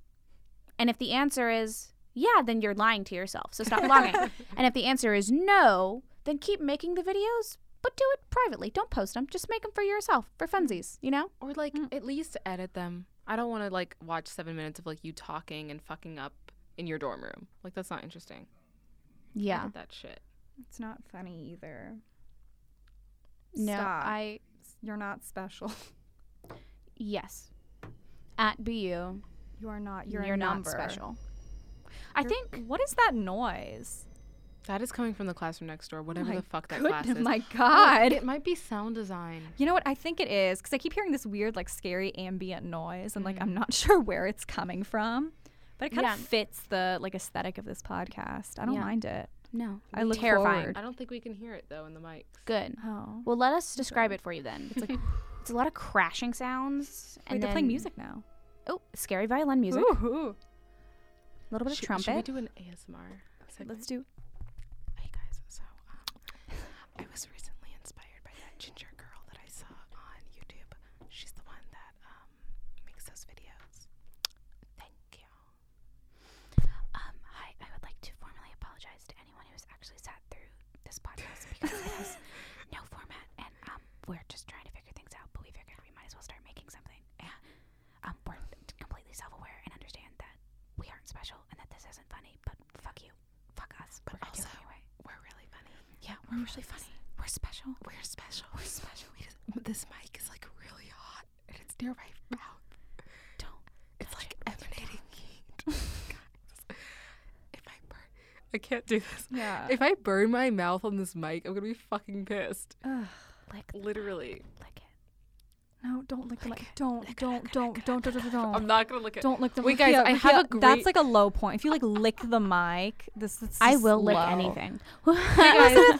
S4: And if the answer is yeah, then you're lying to yourself. So stop lying. And if the answer is no, then keep making the videos, but do it privately. Don't post them. Just make them for yourself, for funsies. You know?
S3: Or like
S4: Mm.
S3: at least edit them. I don't want to like watch seven minutes of like you talking and fucking up in your dorm room. Like that's not interesting.
S4: Yeah.
S3: Edit that shit.
S2: It's not funny either.
S4: No,
S2: Stop.
S4: I
S2: You're not special.
S4: yes. At BU,
S2: You are not. You're,
S4: you're,
S2: a
S4: not
S2: number.
S4: special. I
S2: You're-
S4: think
S2: What is that noise?
S3: That is coming from the classroom next door. Whatever
S2: Oh
S4: Oh
S2: my
S3: the fuck that
S2: Goodness,
S3: class is.
S2: my
S3: Well,
S2: God.
S3: It might be sound design.
S2: You know what? I think it is because I keep hearing this weird, like, scary ambient noise, and like, I'm not sure where it's coming from, but it kind
S4: Yeah.
S2: of fits the like aesthetic of this podcast. I don't
S4: Yeah.
S2: mind it.
S4: no.
S2: I look
S4: terrifying.
S2: forward.
S3: I don't think we can hear it though in the mics.
S4: Good.
S2: Oh,
S4: Well, let us describe it for you then. It's like it's a lot of crashing sounds
S2: Wait,
S4: and
S2: they're playing
S4: then-
S2: music now.
S4: Oh, scary violin music.
S2: Ooh,
S4: A little bit of
S3: Should- Should we
S4: trumpet.
S3: do an ASMR? segment?
S2: let's do.
S3: Hey guys, so um, I was recently inspired by that ginger girl that I saw on YouTube. She's the one that um, makes those videos. Thank you.
S4: Um, hi, I would like to formally apologize to anyone who's actually sat through this podcast because it has no format and um, we're just trying to figure things out. But we figured we might as well start making something. And, um, we're We're really funny. We're special.
S3: We're special. We're special. We just, this mic is like really hot and it's near my mouth.
S4: Don't
S3: It's like emanating heat. Guys, if I burn, I can't do this.
S2: Yeah.
S3: If I burn my mouth on this mic, I'm gonna be fucking pissed.
S2: Ugh.
S4: Lick,
S3: Literally.
S4: lick it.
S2: No, don't lick the mic. Don't, don't, don't, don't, don't, don't,
S3: I'm
S2: don't.
S3: not gonna look at.
S2: Don't lick the mic.
S3: Wait, guys, I have a
S2: That's
S3: great-
S2: like a low point. If you like lick the mic, this is.
S4: I
S2: just
S4: will lick
S2: low.
S4: anything.
S3: guys,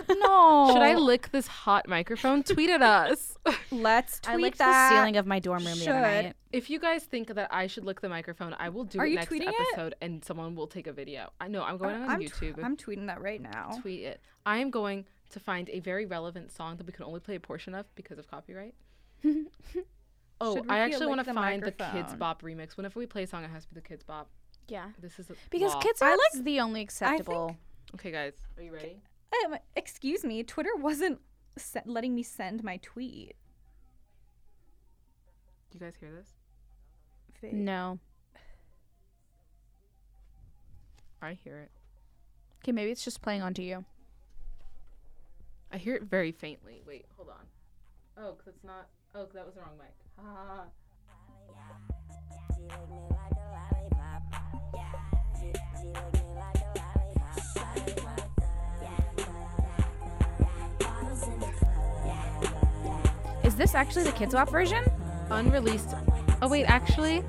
S2: No.
S3: should I lick this hot microphone? Tweet at us.
S2: Let's tweet
S4: I licked
S2: that.
S4: the ceiling of my dorm room the other
S2: Should.
S4: night.
S3: If you guys think that I should lick the microphone, I will do
S2: Are
S3: it
S2: you
S3: next
S2: tweeting it?
S3: episode, and someone will take a video. I know I'm going on
S2: I'm,
S3: YouTube.
S2: Tw- I'm tweeting that right now.
S3: tweet it. I am going to find a very relevant song that we can only play a portion of because of copyright. oh,
S2: Should Rukia
S3: I actually
S2: lick
S3: want to
S2: the
S3: find the Kids
S2: microphone?
S3: Bop remix. Whenever we play a song, it has to be the Kids Bop.
S4: Yeah.
S3: This is a
S4: Because
S3: law.
S4: kids are like the only acceptable.
S3: Okay, guys, are you ready?
S2: Um, excuse me, Twitter wasn't se- letting me send my tweet.
S3: Do you guys hear this?
S2: Fake.
S4: No.
S3: I hear it.
S4: Okay, maybe it's just playing onto you.
S3: I hear it very faintly. Wait, hold on. Oh, 'cause it's not. Oh, 'cause that was the wrong mic. Ah.
S5: She lick me like a lollipop. Yeah. She, she lick me like a lollipop. Lollipop. Yeah. Yeah. Bottles in the club. Yeah.
S4: Is this actually the Kids Wop version?
S3: Unreleased. Oh wait, actually.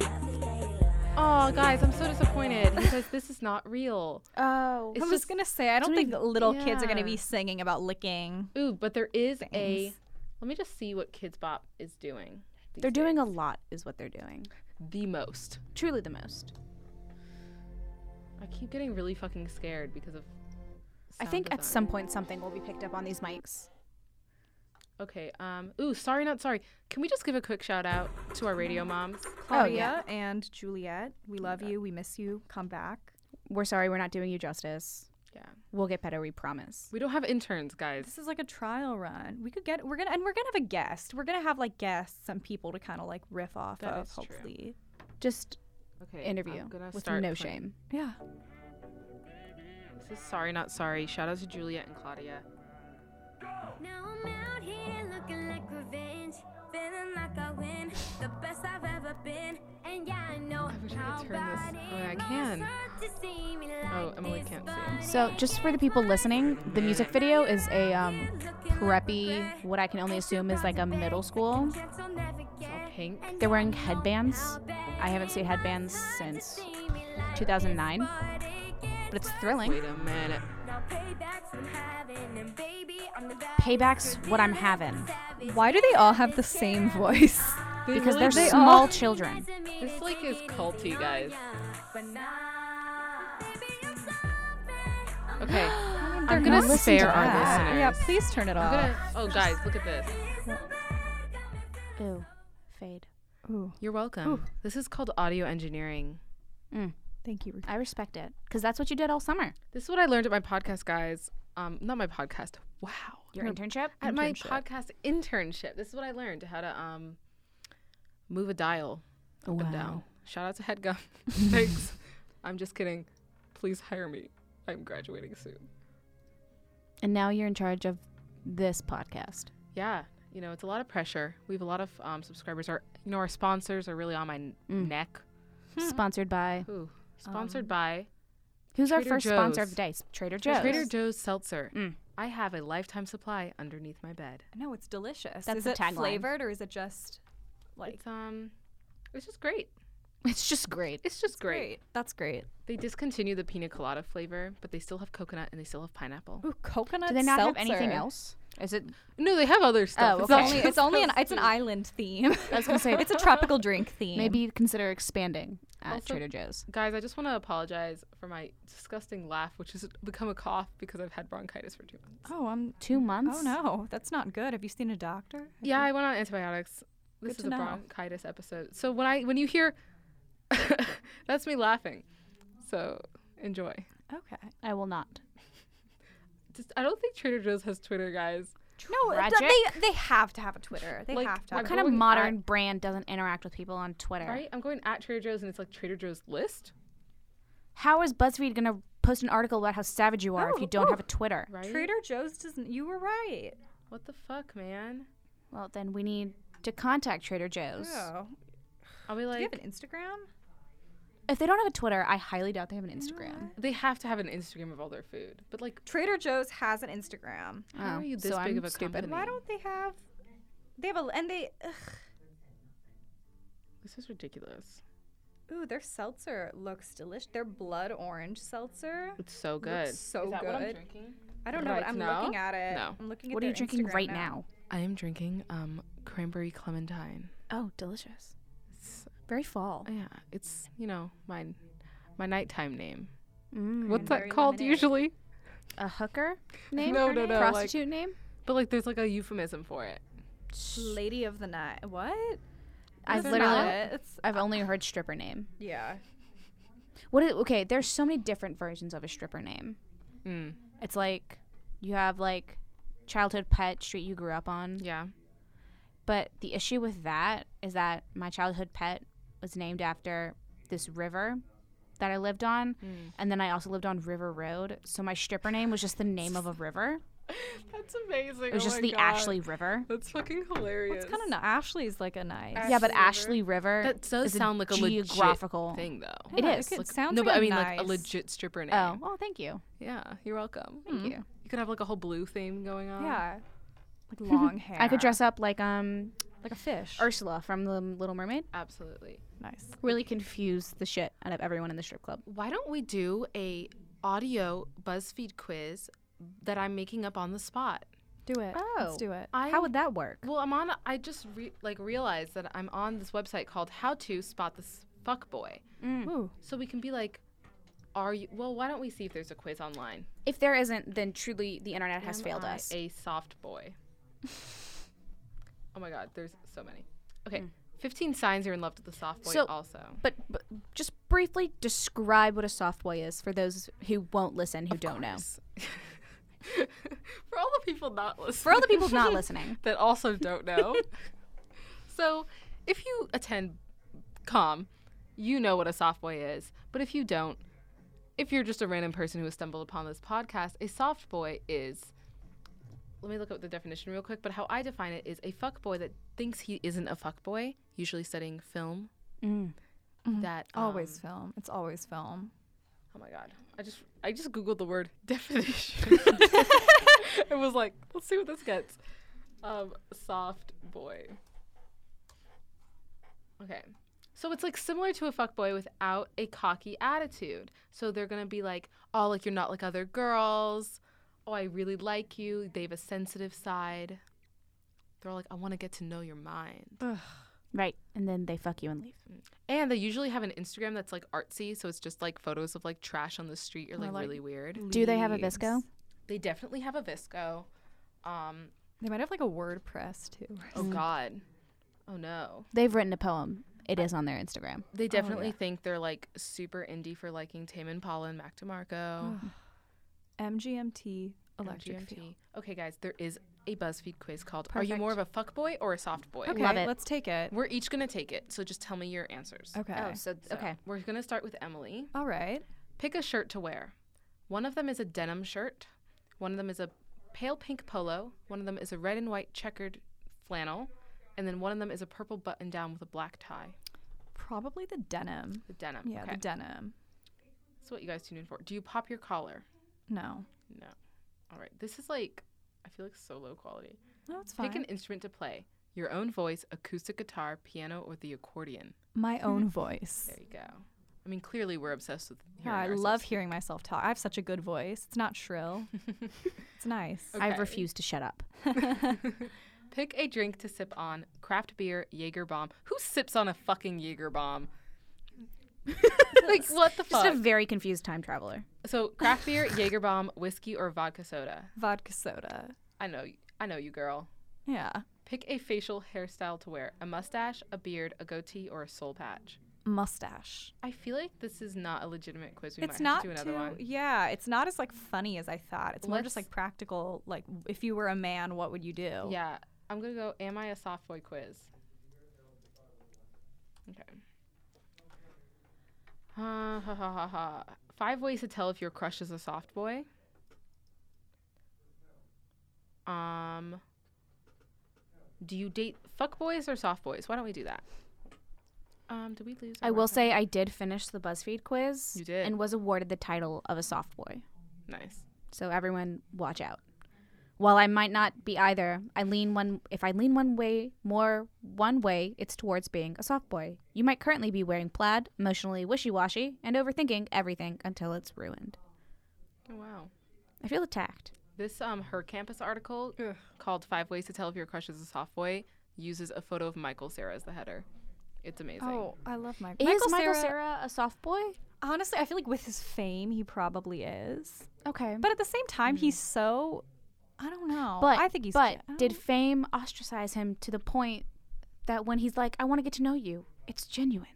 S3: Oh, guys, I'm so disappointed because this is not real.
S4: Oh.
S2: I
S3: It's
S2: was
S3: just
S2: gonna say I don't think
S3: something-
S2: little kids are gonna
S3: yeah.
S2: be singing about licking.
S3: Ooh, but there is a.
S2: Things.
S3: Let me just see what Kids Bop is doing. these
S4: They're doing
S3: days.
S4: a lot, is what they're doing.
S3: the most.
S4: Truly the most.
S3: I keep getting really fucking scared because of.
S4: I
S3: sound
S4: think at
S3: design.
S4: some point something will be picked up on these mics.
S3: Okay. Um. Ooh, sorry, not sorry. Can we just give a quick shout out to our radio moms?
S2: Claudia and Juliet, we love you. We miss you. Come back.
S4: We're sorry, we're not doing you justice.
S3: Yeah.
S4: We'll get better, we promise.
S3: We don't have interns, guys.
S2: This is like a trial run. We could get we're gonna and we're gonna have a guest. We're gonna have like guests, some people to kind of like riff off
S3: That
S2: of.
S3: is true.
S2: Hopefully,
S4: Just
S3: Okay.
S4: interview
S3: I'm gonna
S4: with
S3: start
S4: no shame.
S3: playing-
S2: yeah.
S3: This is sorry, not sorry. Shout out to Juliet and Claudia.
S5: Now I'm out here looking like revenge. Feeling like I win. The best I've ever been. And yeah, I know
S3: I wish I could
S5: how
S3: turn this-
S5: bad
S3: oh, yeah, I
S5: it must
S3: can.
S5: hurt to see me
S3: Oh,
S5: like
S3: Emily
S5: this,
S3: can't
S5: but
S3: see.
S4: So, just for the people listening, the music video is a um, preppy, what I can only assume is like a middle school.
S5: chance I'll never get.
S3: Pink.
S4: They're wearing headbands. I haven't seen headbands since 2009, but it's thrilling.
S3: Wait a minute.
S5: Now paybacks I'm having, and baby, I'm the best.
S4: Payback's what I'm having
S2: Why do they all have the same voice?
S3: They
S4: because
S3: really
S4: they're
S3: do-
S4: small children.
S3: This like is culty, guys.
S5: But now, baby, I'm sorry.
S3: Okay. I'm
S4: gonna
S3: gonna
S4: listen to
S3: spare our
S4: that.
S3: listeners.
S2: Yeah, please turn it
S3: I'm
S2: off.
S3: gonna. Oh, guys, look at this.
S4: Ooh, fade.
S2: Ooh,
S3: You're welcome. This is called audio engineering.
S2: thank you.
S4: Mm, I respect it because that's what you did all summer.
S3: This is what I learned at my podcast, guys. Um, not my podcast. Wow.
S4: Your internship.
S3: At my podcast internship, this is what I learned how to um move a dial up and down. Shout out to HeadGum. Thanks. I'm just kidding. Please hire me. I'm graduating soon.
S4: And now you're in charge of this podcast.
S3: Yeah, you know it's a lot of pressure. We have a lot of um, subscribers. Our you know our sponsors are really on my n- neck.
S4: Sponsored by
S3: Ooh. Sponsored by
S4: who's our
S3: Trader
S4: first sponsor
S3: Joe's.
S4: of the day? Trader Joe's.
S3: Trader Joe's seltzer. I have a lifetime supply underneath my bed.
S2: No, it's delicious.
S4: That's
S2: is
S4: the
S2: it
S4: tagline.
S2: flavored or is it just like
S3: It's um, it's just great.
S4: It's just great.
S3: It's just great.
S2: That's great.
S3: They discontinue the pina colada flavor, but they still have coconut and they still have pineapple.
S2: Ooh, coconut.
S4: Do they not have anything
S2: seltzer.
S4: else? Is it?
S3: No, they have other stuff.
S4: Oh,
S3: It's
S2: It's
S3: not
S4: okay.
S2: only
S3: just
S2: it's only an
S3: those
S2: it's an
S3: two.
S2: island theme.
S4: I was gonna say
S2: it's a tropical drink theme.
S4: maybe consider expanding at
S3: Also-
S4: Trader Joe's.
S3: Guys, I just want to apologize for my disgusting laugh, which has become a cough because I've had bronchitis for two months.
S2: Oh, I'm.
S4: Two months.
S2: Oh no, that's not good. Have you seen a doctor?
S3: Yeah, I went on antibiotics. This
S2: Good
S3: is
S2: to
S3: a
S2: know.
S3: bronchitis episode. So when I when you hear, that's me laughing. So enjoy.
S2: Okay.
S4: I will not.
S3: Just I don't think Trader Joe's has Twitter, guys.
S2: No, th-
S4: Tragic.
S2: they they have to have a Twitter. They
S3: Like,
S2: have to.
S3: what
S2: Have
S4: What kind of
S3: going
S4: modern
S3: at-
S4: brand doesn't interact with people on Twitter?
S3: Right? I'm going at Trader Joe's and it's like Trader Joe's list.
S4: How is BuzzFeed gonna post an article about how savage you are if
S2: Oh,
S4: you don't
S2: ooh.
S4: have a Twitter.
S3: Right?
S2: Trader Joe's doesn't. You were right.
S3: What the fuck, man?
S4: Well, then we need to contact Trader Joe's.
S2: Oh,
S3: I'll be
S2: do
S3: like,
S2: you have an Instagram?
S4: If they don't have a Twitter, I highly doubt they have an Instagram.
S3: they have to have an Instagram of all their food. But like,
S2: Trader Joe's has an Instagram.
S3: how
S4: Oh,
S3: are you this
S4: so
S3: big
S4: I'm
S3: of a
S4: stupid.
S3: company?
S2: Why don't they have? They have a and they. Ugh,
S3: This is ridiculous.
S2: ooh, their seltzer looks delicious. Their blood orange seltzer.
S3: It's so good.
S2: Looks so good.
S3: drinking?
S2: I don't know,
S3: Right
S2: but I'm
S3: now?
S2: looking at it.
S3: No.
S2: I'm looking at
S4: What are you
S2: their
S4: drinking
S2: Instagram
S4: right
S2: now.
S4: now?
S3: I am drinking um cranberry clementine.
S4: Oh, delicious.
S3: It's,
S4: Very fall.
S3: Oh, yeah, it's you know my my nighttime name.
S4: Mm.
S3: What's that
S2: Cranberry
S3: called
S2: lemonade.
S3: usually?
S4: A hooker name?
S3: No,
S4: Her
S3: no,
S4: name?
S3: no, like-
S4: Prostitute name?
S3: But like, there's like a euphemism for it.
S2: Lady of the night. What?
S4: I've
S2: That's
S4: literally,
S2: not it. It's,
S4: I've only heard stripper name.
S2: yeah.
S4: What? Is, okay, there's so many different versions of a stripper name.
S3: Mm.
S4: It's like you have like childhood pet, street you grew up on.
S3: Yeah.
S4: But the issue with that is that my childhood pet was named after this river that I lived on,
S3: Mm.
S4: and then I also lived on River Road. So my stripper name was just the name of a river.
S3: That's amazing. Oh
S4: It was just the Ashley River.
S3: That's fucking hilarious.
S2: It's kind of Ashley's like a nice.
S3: Ash-
S4: yeah, but
S3: Ashley
S4: Ashley River.
S3: That does
S4: is
S3: sound like a legit
S4: geographical
S3: thing though.
S4: It
S2: Yeah,
S4: is.
S2: It
S3: Like-
S2: sounds
S3: no,
S2: like
S3: but
S2: a
S3: I mean like
S2: nice-
S3: a legit stripper name.
S4: Oh, well, thank you.
S3: yeah, you're welcome.
S4: Thank you.
S3: You could have like a whole blue theme going on.
S2: Yeah. Like long hair.
S4: I could dress up like um
S2: like a fish.
S4: Ursula from the Little Mermaid.
S3: absolutely.
S2: nice.
S4: Really confuse the shit out of everyone in the strip club.
S3: Why don't we do a audio BuzzFeed quiz that I'm making up on the spot?
S2: Do it. Let's
S4: Oh.
S2: do it.
S3: I
S4: How would that work?
S3: Well, I'm on. I just re- like realized that I'm on this website called How to Spot This Fuck Boy,
S4: Mm.
S2: Ooh.
S3: so we can be like, "Are you?" Well, why don't we see if there's a quiz online?
S4: If there isn't, then truly the internet has
S3: Am
S4: failed
S3: I
S4: us.
S3: A soft boy. oh my God, there's so many. Okay, 15 signs you're in love with the soft boy.
S4: Hmm. So-
S3: also,
S4: but, but just briefly describe what a soft boy is for those who won't listen, who don't know.
S3: for all the people not listening,
S4: For all the people not listening,
S3: that also don't know. so, if you attend com, you know what a soft boy is. But if you don't, if you're just a random person who has stumbled upon this podcast, a soft boy is. Let me look up the definition real quick. But how I define it is a fuck boy that thinks he isn't a fuck boy, usually studying film. That
S2: Always
S3: um,
S2: film. It's always film.
S3: Oh my god. I just I just googled the word definition. it was like, let's see what this gets. Um soft boy. Okay. So it's like similar to a fuckboy without a cocky attitude. So they're going to be like, "Oh, like you're not like other girls. Oh, I really like you." They have a sensitive side. They're like, "I want to get to know your mind."
S4: right? And then they fuck you and leave.
S3: And they usually have an Instagram that's like artsy, so it's just like photos of like trash on the street or like,
S2: like,
S3: really weird.
S4: Do they have a
S2: Leaves.
S4: visco?
S3: They definitely have a Visco. Um,
S2: They might have like a WordPress too.
S3: oh God, oh no.
S4: They've written a poem. It is on their Instagram.
S2: Oh,
S3: They definitely think they're like super indie for liking Tame Impala and Mac DeMarco.
S2: MGMT Oh, electric
S3: GMT.
S2: field.
S3: Okay, guys, there is a BuzzFeed quiz called "Are you more of
S4: Perfect.
S3: a fuck boy or a soft boy?"
S2: Okay,
S4: Love it.
S2: let's take it.
S3: We're each gonna take it, so just tell me your answers.
S2: Okay.
S4: so
S3: Oh, So, We're gonna start with Emily.
S2: All right.
S3: Pick a shirt to wear. One of them is a denim shirt, one of them is a pale pink polo, one of them is a red and white checkered flannel, and then one of them is a purple button down with a black tie.
S2: Probably the denim.
S3: The denim.
S2: Yeah,
S3: okay.
S2: the denim.
S3: That's what you guys tuned in for. Do you pop your collar?
S2: No.
S3: No. All right. This is like, I feel like so low quality.
S2: No, it's fine.
S3: Pick an instrument to play your own voice, acoustic guitar, piano, or the accordion.
S2: My own voice.
S3: There you go. I mean, clearly we're obsessed with
S2: Yeah,
S3: hearing
S2: I love
S3: ourselves.
S2: hearing myself talk. I have such a good voice. It's not shrill. it's nice.
S4: I
S3: Okay.
S4: refuse to shut up.
S3: Pick a drink to sip on craft beer, Jaeger bomb. Who sips on a fucking Jaeger bomb? like, what the
S4: Just
S3: fuck?
S4: a very confused time traveler.
S3: so, craft beer, Jaeger bomb, whiskey, or vodka soda?
S2: Vodka soda.
S3: I know, y- I know you, girl.
S2: Yeah.
S3: Pick a facial hairstyle to wear a mustache, a beard, a goatee, or a soul patch.
S2: Mustache.
S3: I feel like this is not a legitimate quiz. We
S2: It's
S3: might have
S2: not
S3: to do another
S2: too,
S3: one.
S2: yeah. It's not as like funny as I thought. It's more just
S3: Let's-
S2: like practical. Like if you were a man, what would you do?
S3: Yeah, I'm gonna go. Am I a soft boy quiz? Okay. Ha ha ha ha ha. Five ways to tell if your crush is a soft boy. Um, do you date fuck boys or soft boys? Why don't we do that? Um, do we lose?
S4: I
S3: our
S4: will
S3: reference?
S4: say I did finish the BuzzFeed quiz.
S3: You did.
S4: And was awarded the title of a soft boy.
S3: nice.
S4: So everyone watch out. While I might not be either, I lean one if I lean one way more one way, it's towards being a soft boy. You might currently be wearing plaid, emotionally wishy-washy, and overthinking everything until it's ruined.
S3: Oh, wow.
S4: I feel attacked.
S3: This um her campus article called Five Ways to Tell If Your Crush is a Soft Boy uses a photo of Michael Sarah as the header. It's amazing.
S2: Oh, I love Mike.
S4: Is Michael Sarah a soft boy?
S2: Honestly, I feel like with his fame, he probably is.
S4: Okay.
S2: But at the same time, he's so. I don't know.
S4: But
S2: I think he's.
S4: But
S2: I
S4: did
S2: don't-
S4: fame ostracize him to the point that when he's like, "I want to get to know you," it's genuine.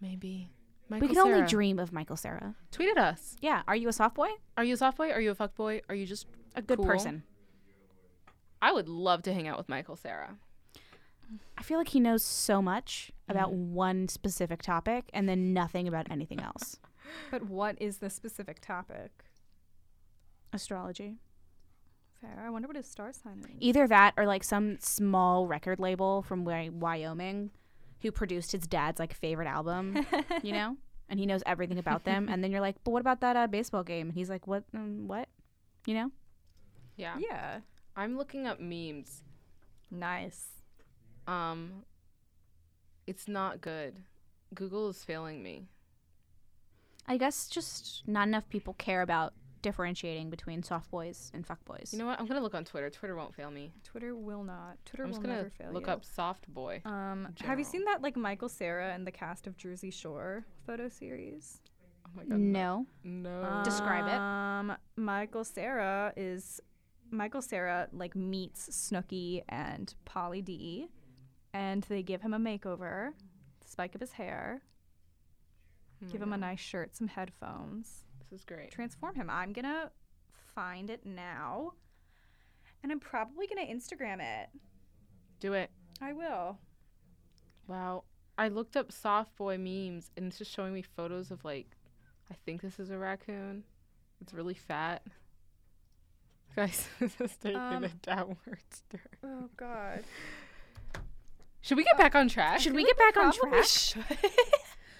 S3: Maybe. Michael
S4: we can only
S3: Cera.
S4: dream of Michael Sarah.
S3: Tweet at us.
S4: Yeah. Are you a soft boy?
S3: Are you a soft boy? Are you a fuck boy? Are you just
S4: A good
S3: cool?
S4: person.
S3: I would love to hang out with Michael Sarah.
S4: I feel like he knows so much about one specific topic and then nothing about anything else.
S2: But what is the specific topic?
S4: Astrology.
S2: Fair. I wonder what his star sign is.
S4: Either that or like some small record label from Wy- Wyoming who produced his dad's like favorite album, you know? And he knows everything about them. And then you're like, but what about that uh, baseball game? And he's like, what? Um, what? You know?
S3: Yeah.
S2: Yeah.
S3: I'm looking up memes.
S2: Nice.
S3: Um it's not good. Google is failing me.
S4: I guess just not enough people care about differentiating between soft boys and fuck boys.
S3: You know what? I'm gonna look on Twitter. Twitter won't fail me.
S2: Twitter will not. Twitter
S3: I'm
S2: will
S3: just gonna
S2: never fail
S3: look
S2: you.
S3: up soft boy.
S2: Um, have you seen that like Michael Sarah and the cast of Jersey Shore photo series?
S3: Oh my god.
S4: no.
S3: No.
S4: Describe it.
S2: Um, Michael Sarah is Michael Sarah like meets Snooky and Polly D, and they give him a makeover, spike of his hair,
S3: Oh
S2: give him a nice shirt, some headphones,
S3: this is great.
S2: transform him. I'm gonna find it now, and I'm probably gonna Instagram it.
S3: Do it.
S2: I will.
S3: Wow. I looked up soft boy memes and it's just showing me photos of like I think this is a raccoon. It's really fat. Guys, this is taking
S2: Um,
S3: a downward turn.
S2: Oh God.
S3: Should we get back on track?
S4: Should we get back on
S2: Probably
S4: track?
S2: should.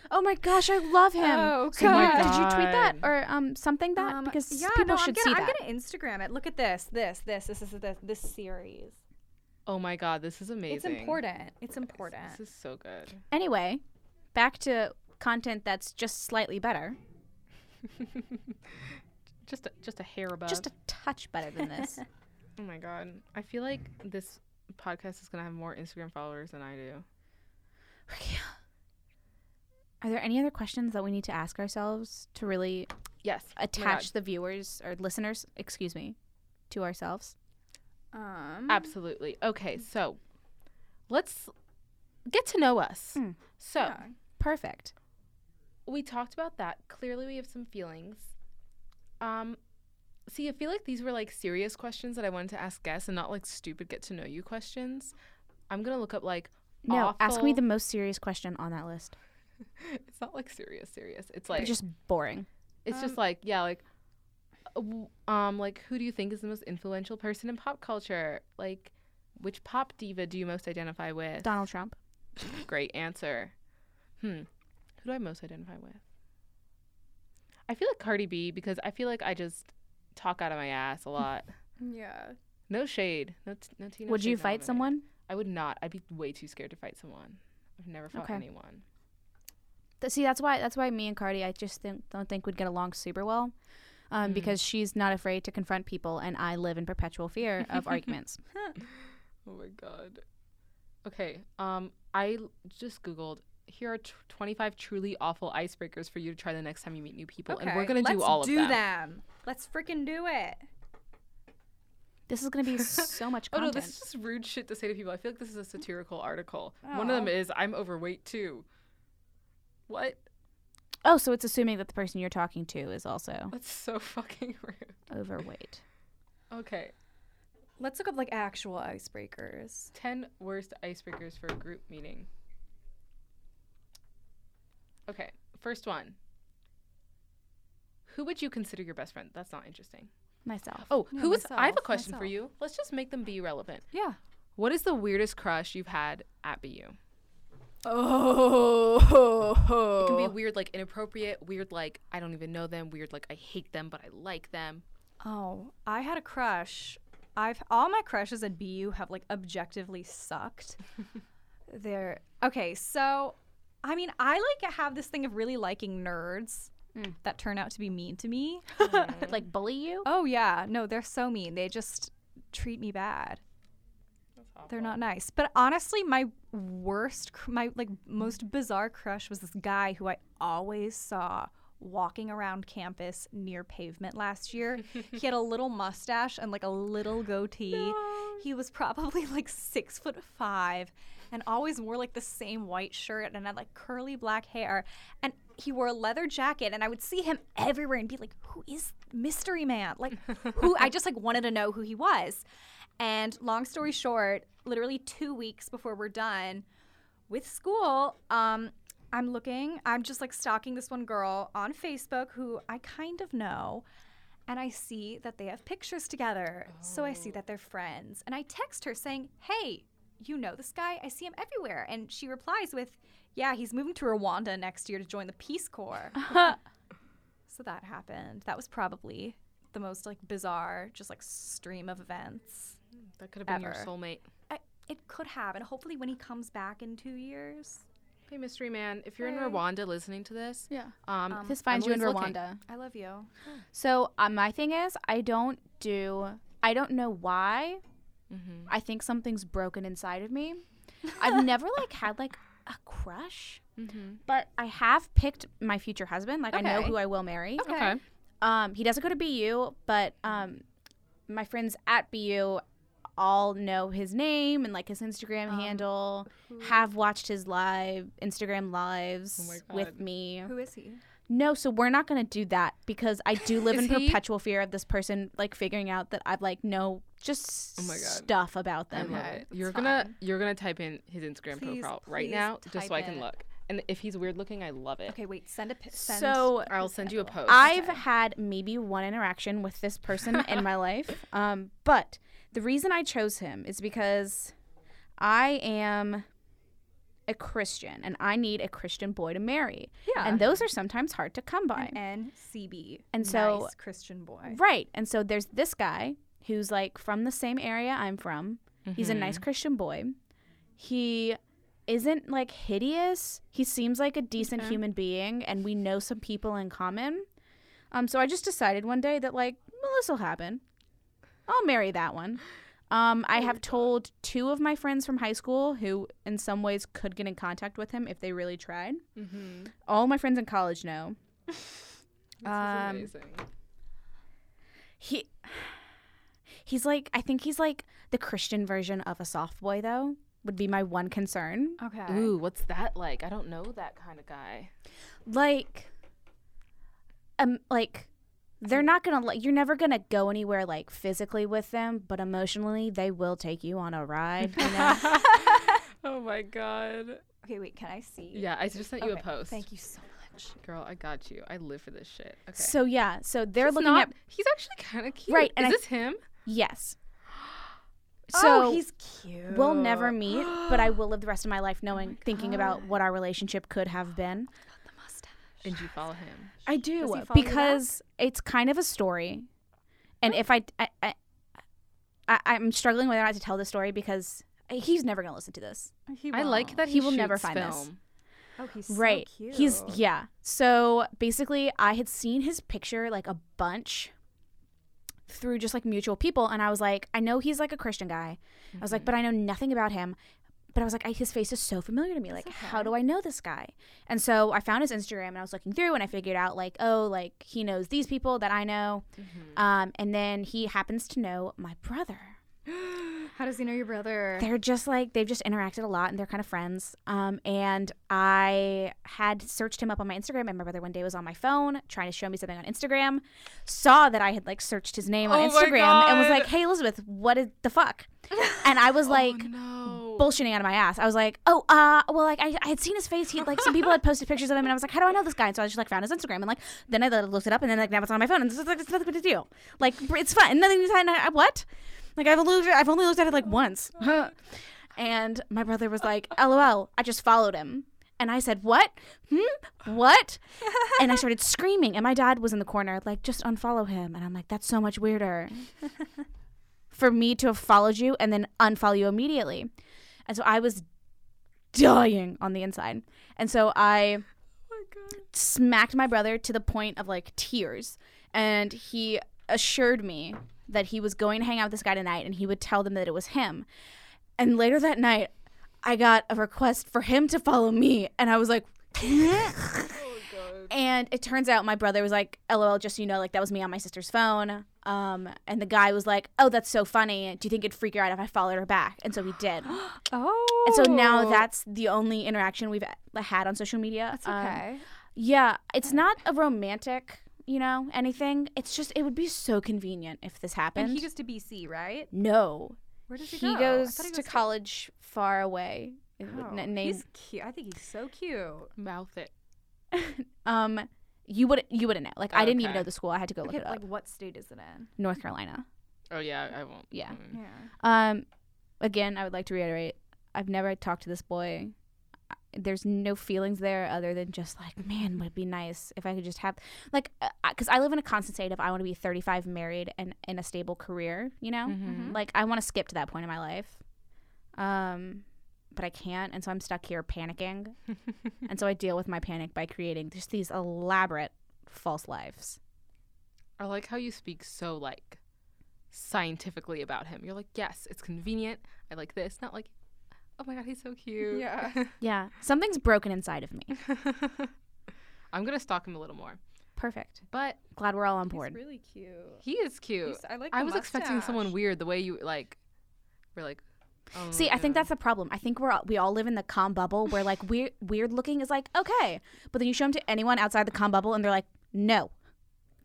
S4: Oh my gosh, I love him.
S2: Oh,
S4: So you-
S2: God.
S4: Did you tweet that
S3: God.
S4: or um something that
S2: Um,
S4: because
S2: yeah,
S4: people
S2: no,
S4: should
S2: I'm gonna,
S4: see
S2: I'm
S4: that.
S2: gonna Instagram it. Look at this, this, this, this, this, this, this series.
S3: Oh my god, this is amazing.
S2: It's important. It's
S3: This
S2: important.
S3: is so good.
S4: Anyway, back to content that's just slightly better,
S3: Just a, just a hair above.
S4: just a touch better than this.
S3: oh my god. I feel like this podcast is going to have more Instagram followers than I do.
S4: Are there any other questions that we need to ask ourselves to really
S3: Yes. Oh my God.
S4: attach the viewers or listeners, excuse me, to ourselves?
S2: Um,
S3: Absolutely. Okay, so let's get to know us.
S4: Mm.
S3: So,
S4: Perfect.
S3: we talked about that. Clearly, we have some feelings. Um, see, I feel like these were like serious questions that I wanted to ask guests, and not like stupid get to know you questions. I'm gonna look up like
S4: No, ask me
S3: awful-
S4: the most serious question on that list.
S3: It's not like serious, serious. It's
S4: But
S3: like
S4: just um, boring.
S3: it's just like yeah, like uh, w- um, like who do you think is the most influential person in pop culture? Like, which pop diva do you most identify with?
S4: Donald Trump.
S3: Great answer. Hmm. Who do I most identify with? I feel like Cardi B because I feel like I just talk out of my ass a lot.
S2: yeah.
S3: No shade. No, t- no tea. no
S4: Would
S3: shade,
S4: you
S3: no
S4: fight
S3: lemonade.
S4: someone?
S3: I would not. I'd be way too scared to fight someone. I've never fought
S4: Okay.
S3: anyone.
S4: Th- See, that's why that's why me and Cardi, I just think, don't think would get along super well,
S3: Mm.
S4: um, because she's not afraid to confront people, and I live in perpetual fear of arguments.
S3: Oh my god. Okay. Um, I l- just googled. Here are t- 25 truly awful icebreakers for you to try the next time you meet new people, and we're gonna do all of
S2: do
S3: them.
S2: them. Let's freaking do it.
S4: This is gonna be so much
S3: Oh no,
S4: content.
S3: this is just rude shit to say to people. I feel like this is a satirical article. One of them is I'm overweight too. What?
S4: oh, so it's assuming that the person you're talking to is also
S3: That's so fucking rude.
S4: overweight.
S3: Okay.
S2: Let's look up like actual icebreakers.
S3: 10 worst icebreakers for a group meeting. Okay. First one. Who would you consider your best friend? That's not interesting.
S4: myself.
S3: Oh,
S2: Yeah,
S3: who is? I have a
S2: myself,
S3: question for
S2: myself.
S3: you. Let's just make them be relevant.
S2: Yeah.
S3: What is the weirdest crush you've had at BU? It
S2: Oh.
S3: can be weird, like inappropriate. Weird, like I don't even know them. Weird, like I hate them but I like them.
S2: Oh, I had a crush. I've all my crushes at BU have like objectively sucked. They're okay. So, I mean, I like have this thing of really liking nerds
S3: Hmm.
S2: that turn out to be mean to me.
S4: like bully you?
S2: oh yeah, no, they're so mean. They just treat me bad. They're not nice. But honestly, my worst, cr- my like most bizarre crush was this guy who I always saw walking around campus near pavement last year. he had a little mustache and like a little goatee. He was probably like six foot five and always wore like the same white shirt and had like curly black hair. And he wore a leather jacket and I would see him everywhere and be like, who is mystery man? Like who I just like wanted to know who he was. And long story short, literally two weeks before we're done with school, um, I'm looking, I'm just like stalking this one girl on Facebook who I kind of know. And I see that they have pictures together. So I see that they're friends. And I text her saying, Hey, you know this guy? I see him everywhere. And she replies with, Yeah, he's moving to Rwanda next year to join the Peace Corps. so that happened. That was probably the most like bizarre, just like stream of events.
S3: That could have been your
S2: Ever.
S3: soulmate.
S2: I, it could have, and hopefully when he comes back in two years,
S3: Hey, mystery man, if you're in Rwanda listening to this,
S4: Yeah.
S3: um,
S4: This finds you in
S3: Emily's looking.
S4: Rwanda.
S2: I love you.
S4: So uh, my thing is, I don't do. I don't know why.
S3: Mm-hmm.
S4: I think something's broken inside of me. I've never like had like a crush,
S3: Mm-hmm.
S4: but I have picked my future husband. Like I know
S2: Okay.
S4: who I will marry.
S3: Okay.
S4: Um, he doesn't go to BU, but um, my friends at BU all know his name and like his Instagram
S3: Um,
S4: handle. Have watched his live Instagram lives
S3: Oh my
S4: with
S3: God.
S4: me.
S2: Who is he?
S4: No, so we're not going to do that because I do live
S3: Is
S4: in
S3: he-
S4: perpetual fear of this person like figuring out that I've like know just
S3: Oh my God.
S4: stuff about
S3: I
S4: them.
S3: love
S2: Okay,
S3: it.
S2: that's
S3: You're gonna
S2: fine.
S3: you're gonna type in his Instagram
S2: Please,
S3: profile right
S2: please
S3: now just so I
S2: type
S3: can
S2: it.
S3: look. And if he's weird looking, I love it.
S2: Okay, wait. Send a pi- send.
S4: So
S3: I'll send you a post.
S4: I've had maybe one interaction with this person in my life. Um, but the reason I chose him is because I am a Christian and I need a Christian boy to marry.
S2: Yeah.
S4: And those are sometimes hard to come by.
S2: NCB.
S4: And so-
S2: nice Christian boy.
S4: Right. And so there's this guy who's like from the same area I'm from. He's a nice Christian boy. He isn't like hideous. He seems like a decent human being and we know some people in common. Um so I just decided one day that like, well this will happen. I'll marry that one. Um, I have told two of my friends from high school who, in some ways, could get in contact with him if they really tried.
S3: Mhm.
S4: All my friends in college know.
S3: This
S4: Um,
S3: is amazing.
S4: He He's like I think he's like the Christian version of a soft boy though would be my one concern.
S2: Okay.
S3: Ooh, what's that like? I don't know that kind of guy.
S4: Like um like they're not going to like you're never going to go anywhere like physically with them, but emotionally they will take you on a ride, you know?
S3: Oh my god.
S2: Okay, wait. Can I see?
S3: Yeah, I just sent you a
S2: Okay,
S3: post.
S2: Thank you so much.
S3: Girl, I got you. I live for this shit. Okay.
S4: So yeah, so they're
S3: He's
S4: looking
S3: not-
S4: at
S3: He's actually kind of cute.
S4: Right,
S3: Is
S4: and I-
S3: this him?
S4: yes.
S2: oh, he's cute.
S4: We'll never meet, but I will live the rest of my life knowing, thinking about what our relationship could have been.
S2: the mustache.
S3: And you follow him.
S4: I
S2: Does
S4: do
S2: he follow you back?
S4: because it's kind of a story, and if I, I, I, I I'm struggling whether or not to tell the story because he's never gonna listen to this.
S2: He
S3: I like
S2: won't.
S3: that he,
S4: He will never
S3: shoots
S4: find this.
S3: film.
S2: Oh, he's
S4: right?
S2: So cute.
S4: He's yeah. So basically, I had seen his picture like a bunch through just like mutual people, and I was like, I know he's like a Christian guy. I
S2: Mm-hmm.
S4: was like, but I know nothing about him. But I was like, I, his face is so familiar to me. Like, how do I know this guy? And so I found his Instagram and I was looking through and I figured out, like, oh, like he knows these people that I know.
S2: Mm-hmm.
S4: Um, and then he happens to know my brother.
S2: How does he know your brother?
S4: They're just like they've just interacted a lot and they're kind of friends. Um, and I had searched him up on my Instagram, and my brother one day was on my phone trying to show me something on Instagram, saw that I had like searched his name on
S3: Oh my
S4: Instagram and was
S3: God. Oh,
S4: Oh, like, "Hey Elizabeth, what is the fuck?" And I was like,
S3: No.
S4: bullshitting out of my ass. I was like, oh, uh, well, like I, I had seen his face. He like some people had posted pictures of him, and I was like, how do I know this guy? And so I just like found his Instagram, and like then I looked it up, and then like now it's on my phone, and it's like it's nothing to do. Like it's fun, nothing to sign. I- What? Like I've looked, I've only looked at it like once. and my brother was like, lol, I just followed him. And I said, what? Hmm? What? and I started screaming. And my dad was in the corner, like, just unfollow him. And I'm like, that's so much weirder for me to have followed you and then unfollow you immediately. And so I was dying on the inside. And so I smacked my brother to the point of like tears. And he assured me that he was going to hang out with this guy tonight and he would tell them that it was him. And later that night, I got a request for him to follow me. And I was like, and it turns out my brother was like, "LOL, just so you know, like that was me on my sister's phone." Um, and the guy was like, "Oh, that's so funny. Do you think it'd freak her out if I followed her back?" And so he did.
S2: Oh.
S4: and so now that's the only interaction we've uh, had on social media.
S2: That's
S4: Um,
S2: okay.
S4: yeah, it's not a romantic, you know, anything. It's just it would be so convenient if this happened.
S2: and he goes to BC, right?
S4: no,
S2: Where does he,
S4: he
S2: go? I
S4: goes
S2: thought he
S4: to college far away.
S2: Oh,
S4: N- name-
S2: he's cute. I think he's so cute.
S3: Mouth it.
S4: um, you would you wouldn't know. Like I didn't even
S3: Okay.
S4: know the school. I had to go look
S2: Oh,
S4: it
S2: Okay,
S4: up.
S2: like what state is it in?
S4: North Carolina.
S3: Oh yeah, I won't.
S4: Yeah.
S3: Mm.
S2: Yeah.
S4: Um, again, I would like to reiterate, I've never talked to this boy. I- There's no feelings there other than just like, man, would it be nice if I could just have like, because I live in a constant state of I want to be 35, married, and in a stable career. You know,
S3: Mhm.
S4: like I want to skip to that point in my life, um, but I can't, and so I'm stuck here panicking, and so I deal with my panic by creating just these elaborate false lives.
S3: I like how you speak so like scientifically about him. You're like, yes, it's convenient. I like this. Not like, oh my god, he's so cute.
S2: Yeah.
S4: Yeah, something's broken inside of me.
S3: I'm gonna stalk him a little more,
S4: Perfect.
S3: but
S4: Glad we're all on board.
S2: He's really cute.
S3: he is cute.
S2: He's- I like.
S3: I
S2: the
S3: was expecting someone
S2: mustache.
S3: weird. The way you like, we're like. Oh,
S4: See, I think
S3: yeah.
S4: that's the problem. I think we're all, we all live in the calm bubble where like weird weird looking is like okay, but then you show him to anyone outside the calm bubble and they're like no,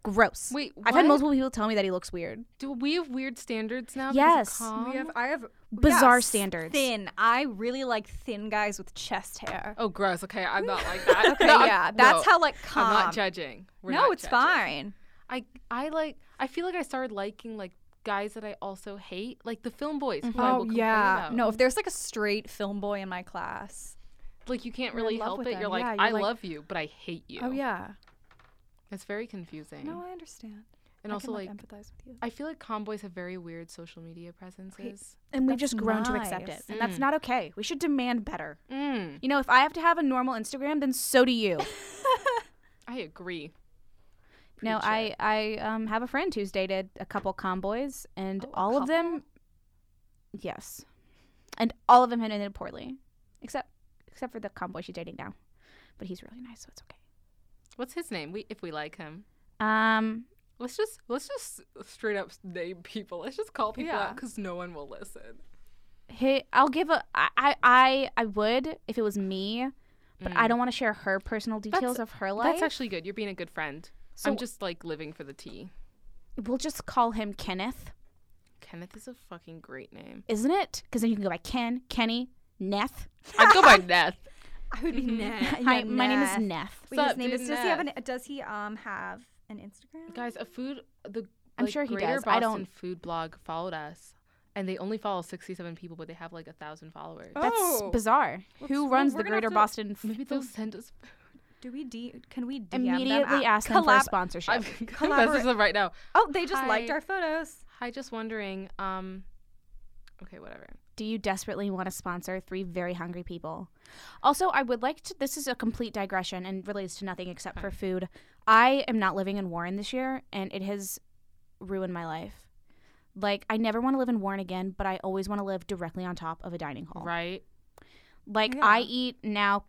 S4: gross.
S3: Wait,
S4: I've had
S3: what?
S4: multiple people tell me that he looks weird.
S3: Do we have weird standards now? because of
S4: Yes. We
S3: calm?
S2: We have. I have
S4: Bizarre
S2: yes,
S4: standards.
S2: Thin. I really like thin guys with chest hair.
S3: Oh, gross. Okay, I'm not like that.
S2: Okay,
S3: No, I'm-
S2: yeah, that's
S3: no,
S2: how like calm.
S3: I'm not judging. We're
S2: no,
S3: not
S2: it's
S3: judging.
S2: fine.
S3: I I like. I feel like I started liking like guys that I also hate, like the film boys. Who I will
S2: Oh
S3: complain
S2: yeah.
S3: about.
S2: No, if there's like a straight film boy in my class.
S3: like you can't
S2: you're in
S3: really
S2: love
S3: help
S2: with
S3: it.
S2: them.
S3: You're like,
S2: Yeah, you're
S3: I
S2: like-
S3: love you, but I hate you.
S2: Oh yeah.
S3: it's very confusing.
S2: No, I understand. I
S3: and also
S2: can,
S3: like,
S2: empathize with you.
S3: I feel like calm boys have very weird social media presences.
S4: And we've
S2: That's
S4: just grown to accept
S2: nice. Mm.
S4: it, and that's not okay. We should demand better.
S3: Mm,
S4: You know, if I have to have a normal Instagram, then so do you.
S3: I agree.
S4: no,
S3: Preach
S4: I I um, have a friend who's dated a couple comboys, and
S2: Oh, a
S4: all of them, yes, and all of them had ended poorly, except except for the comboy she's dating now, but he's really nice, so it's okay.
S3: What's his name? We if we like him.
S4: Um,
S3: Let's just let's just straight up name people. Let's just call people out
S2: Yeah.
S3: because no one will listen.
S4: hey, I'll give a. I I I, I would if it was me, but I don't want to share her personal details of her life.
S3: That's actually good. You're being a good friend. I'm just like living for the tea.
S4: we'll just call him Kenneth,
S3: Kenneth is a fucking great name.
S4: isn't it? Because then you can go by Ken, Kenny, Neth.
S3: I'd go by Neth.
S2: I would be Neth.
S4: Hi, my name is Neth.
S2: Wait, his
S3: Mm-hmm. Sup,
S2: name
S3: dude,
S2: is. Does he have an?
S3: Neth?
S2: Does he um have an Instagram?
S3: Guys, a food the
S4: I'm
S3: like,
S4: sure he
S3: Greater
S4: does. I
S3: Boston
S4: don't-
S3: food blog followed us, and they only follow 67 people, but they have like a thousand followers.
S4: That's
S2: Oh.
S4: bizarre. Who
S2: well,
S4: runs
S2: we're
S4: the
S2: gonna have
S4: Greater
S2: to-
S4: Boston? f-
S3: Maybe they'll send us.
S2: Do we D? Can we DM
S4: immediately
S2: them?
S4: ask them for a
S2: Collab-
S4: sponsorship.
S3: I'm gonna message them right now.
S2: Oh, they just liked
S3: Hi.
S2: our photos.
S3: Hi, just wondering. Um, okay, whatever.
S4: Do you desperately want to sponsor three very hungry people? Also, I would like to. This is a complete digression and relates to nothing except for food. I am not living in Warren this year, and it has ruined my life. Like, I never want to live in Warren again, but I always want to live directly on top of a dining hall.
S3: Right?
S4: Like,
S2: Yeah.
S4: I eat now,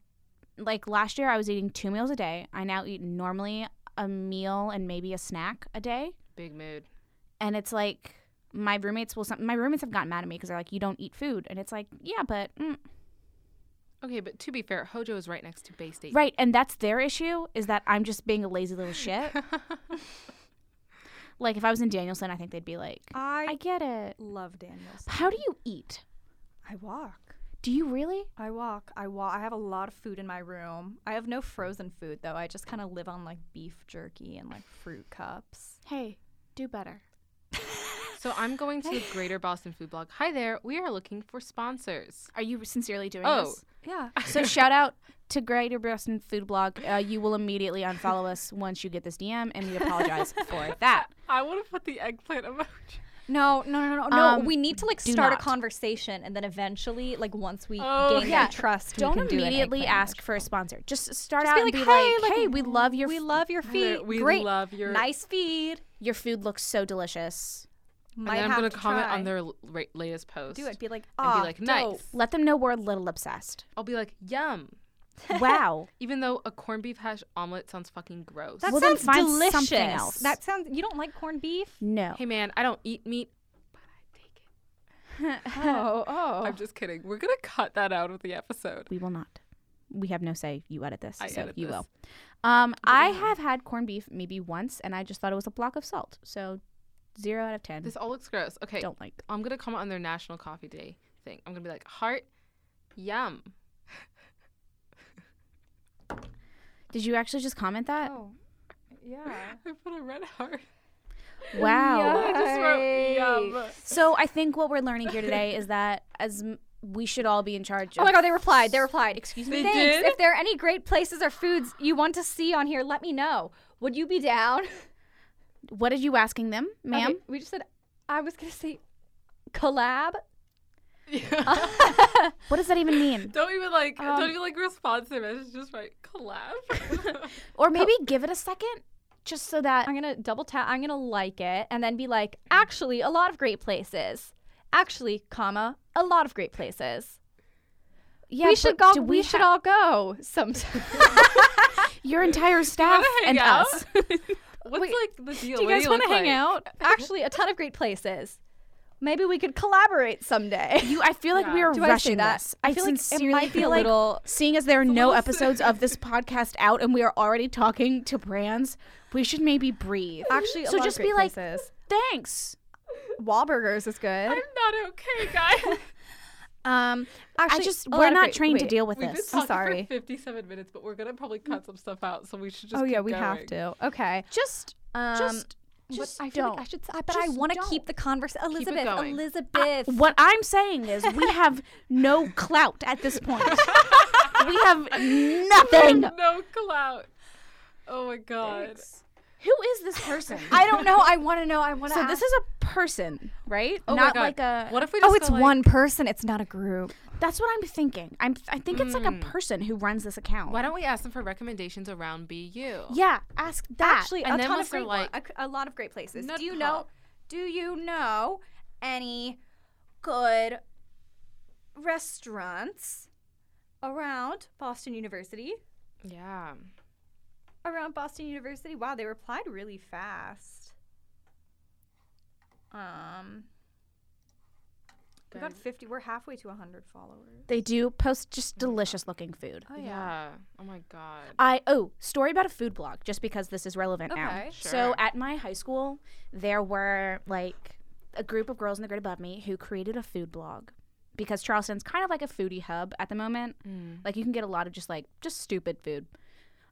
S4: like last year, I was eating two meals a day. I now eat normally a meal and maybe a snack a day.
S3: Big mood.
S4: and it's like my roommates will some my roommates have gotten mad at me because they're like you don't eat food and it's like yeah but mm.
S3: Okay, but to be fair, Hojo is right next to Bay State.
S4: right and that's their issue is that i'm just being a lazy little shit like if i was in danielson i think they'd be like
S2: I,
S4: i get it
S2: love Daniels.
S4: how do you eat
S2: I walk.
S4: Do you really?
S2: I walk. I walk. I have a lot of food in my room. I have no frozen food though. I just kind of live on like beef jerky and like fruit cups.
S4: Hey, do better.
S3: So I'm going to the Greater Boston Food Blog. Hi there. We are looking for sponsors.
S4: Are you sincerely doing
S3: Oh.
S4: this?
S2: Yeah.
S4: So shout out to Greater Boston Food Blog. Uh, you will immediately unfollow us once you get this DM, and we apologize for that.
S3: I would have put the eggplant emoji.
S2: No, no, no, no, no.
S4: Um,
S2: we need to like
S4: do
S2: start
S4: not.
S2: a conversation, and then eventually, like once we
S3: Oh,
S2: gain
S4: yeah.
S2: their trust, we
S4: Don't
S2: can do an
S4: immediately
S2: eggplant
S4: ask for a sponsor. Just start
S2: Just
S4: out
S2: be
S4: and
S2: like,
S4: be
S2: hey,
S4: like,
S2: like,
S4: hey, we love your
S2: We
S4: f-
S2: love your feet.
S3: We
S2: Great.
S3: love your.
S2: nice feed.
S4: your food looks so delicious.
S2: Might
S3: And then I'm
S2: have
S3: going
S2: to
S3: to comment
S2: try.
S3: on their l- ra- latest post.
S2: do it. Be like,
S3: and
S2: ah,
S3: be like, nice.
S2: dope.
S4: Let them know we're a little obsessed.
S3: I'll be like, yum.
S4: Wow.
S3: Even though a corned beef hash omelet sounds fucking gross.
S2: That
S4: Well, then
S2: sounds
S4: find something
S2: delicious.
S4: else.
S2: That sounds. You don't like corned beef?
S4: No.
S3: hey man, I don't eat meat, but I take it.
S2: Oh, oh.
S3: I'm just kidding. We're gonna cut that out of the episode.
S4: We will not. We have no say. You edit this,
S3: I
S4: so
S3: edit
S4: you
S3: this.
S4: will. Um, I have had corned beef maybe once, and I just thought it was a block of salt. So zero out of ten.
S3: This all looks gross. Okay,
S4: Don't like.
S3: I'm gonna comment on their National Coffee Day thing. I'm gonna be like, heart, yum.
S4: Did you actually just comment that?
S2: yeah.
S3: I put a red heart.
S4: Wow.
S3: I just wrote yum.
S4: So I think what we're learning here today is that as m- we should all be in charge.
S2: Oh
S4: Of-
S2: my god, they replied. They replied.
S4: Excuse
S3: They
S4: me.
S2: Thanks.
S3: did.
S2: If there are any great places or foods you want to see on here, let me know. Would you be down?
S4: What are you asking them, ma'am?
S2: Okay, we just said I was gonna say collab.
S3: Yeah.
S4: What does that even mean?
S3: don't even like.
S2: Um,
S3: don't even like respond to their message. Just write collab.
S4: Or maybe give it a second, just so that
S2: I'm gonna double tap. I'm gonna like it and then be like, actually, a lot of great places. Actually, comma, a lot of great places.
S4: yeah.
S2: we should
S4: but
S2: go.
S4: do
S2: we should
S4: ha-
S2: all go sometime.
S4: Your entire staff
S3: hang
S4: and
S3: out?
S4: us.
S3: What's like the deal?
S2: do you
S3: What
S2: guys want to
S3: look
S2: hang
S3: like?
S2: out? Actually, a ton of great places. Maybe we could collaborate someday.
S4: You, I feel like we
S3: Yeah.
S4: are
S2: Do I say
S4: rushing
S2: that?
S4: this.
S2: I feel like it
S4: sincerely
S2: might be a
S4: feel like
S2: little-
S4: Seeing as there are no
S3: little
S4: episodes of this podcast out, and we are already talking to brands, we should maybe breathe.
S2: Actually, a
S4: so
S2: lot
S4: just
S2: of great
S4: be like,
S2: places.
S4: thanks.
S2: Wahlburgers is good.
S3: I'm not okay, guys.
S2: Um, actually,
S4: I just
S2: a
S4: we're
S2: lot of
S4: not
S2: great-
S4: trained to
S2: wait.
S4: deal with
S3: We've been
S4: this.
S3: talking
S2: sorry. Mm.
S3: for 57 minutes, but we're gonna probably cut some stuff out, so we should just.
S2: Oh yeah,
S3: keep
S2: we have
S3: going.
S2: to. Okay.
S4: Just,
S2: Um,
S4: just,
S2: what-
S4: just
S2: I feel
S4: don't.
S2: like I should. s- I, but I
S4: Just
S2: want to
S4: don't.
S2: keep the conversation. Elizabeth,
S3: going.
S2: Elizabeth.
S4: What I'm saying is, we have no clout at this point. we have nothing.
S3: No clout. Oh my god.
S4: Who is this person?
S2: I don't know. I want to know. I want to.
S4: so this is a person, right?
S3: Oh
S4: Not
S3: my
S4: like
S3: god.
S4: a.
S3: What if we? Just
S2: Oh, it's
S3: go, like-
S2: one person. It's not a group.
S4: That's what I'm thinking. I'm. I think it's
S2: Hmm.
S4: like a person who runs this account.
S3: Why don't we ask them for recommendations around BU?
S4: Yeah, ask that.
S2: Actually,
S3: And
S2: a
S3: then
S2: ton
S3: once
S2: of
S3: they're
S2: great. one-
S3: like-
S2: a, a lot of great places.
S3: Nut
S2: Do you know?
S3: pop.
S2: Do you know any good restaurants around Boston University?
S3: Yeah.
S2: around Boston University. Wow, they replied really fast. Um, we got
S3: Guys.
S2: 50. We're halfway to 100 followers.
S4: they do post just delicious looking food.
S2: Oh, Uh,
S3: yeah. Oh my god.
S4: I oh, story about a food blog just because this is relevant now.
S2: Okay,
S4: So
S3: sure.
S4: at my high school, there were like a group of girls in the grade above me who created a food blog because Charleston's kind of like a foodie hub at the moment. Like you can get a lot of just like just stupid food.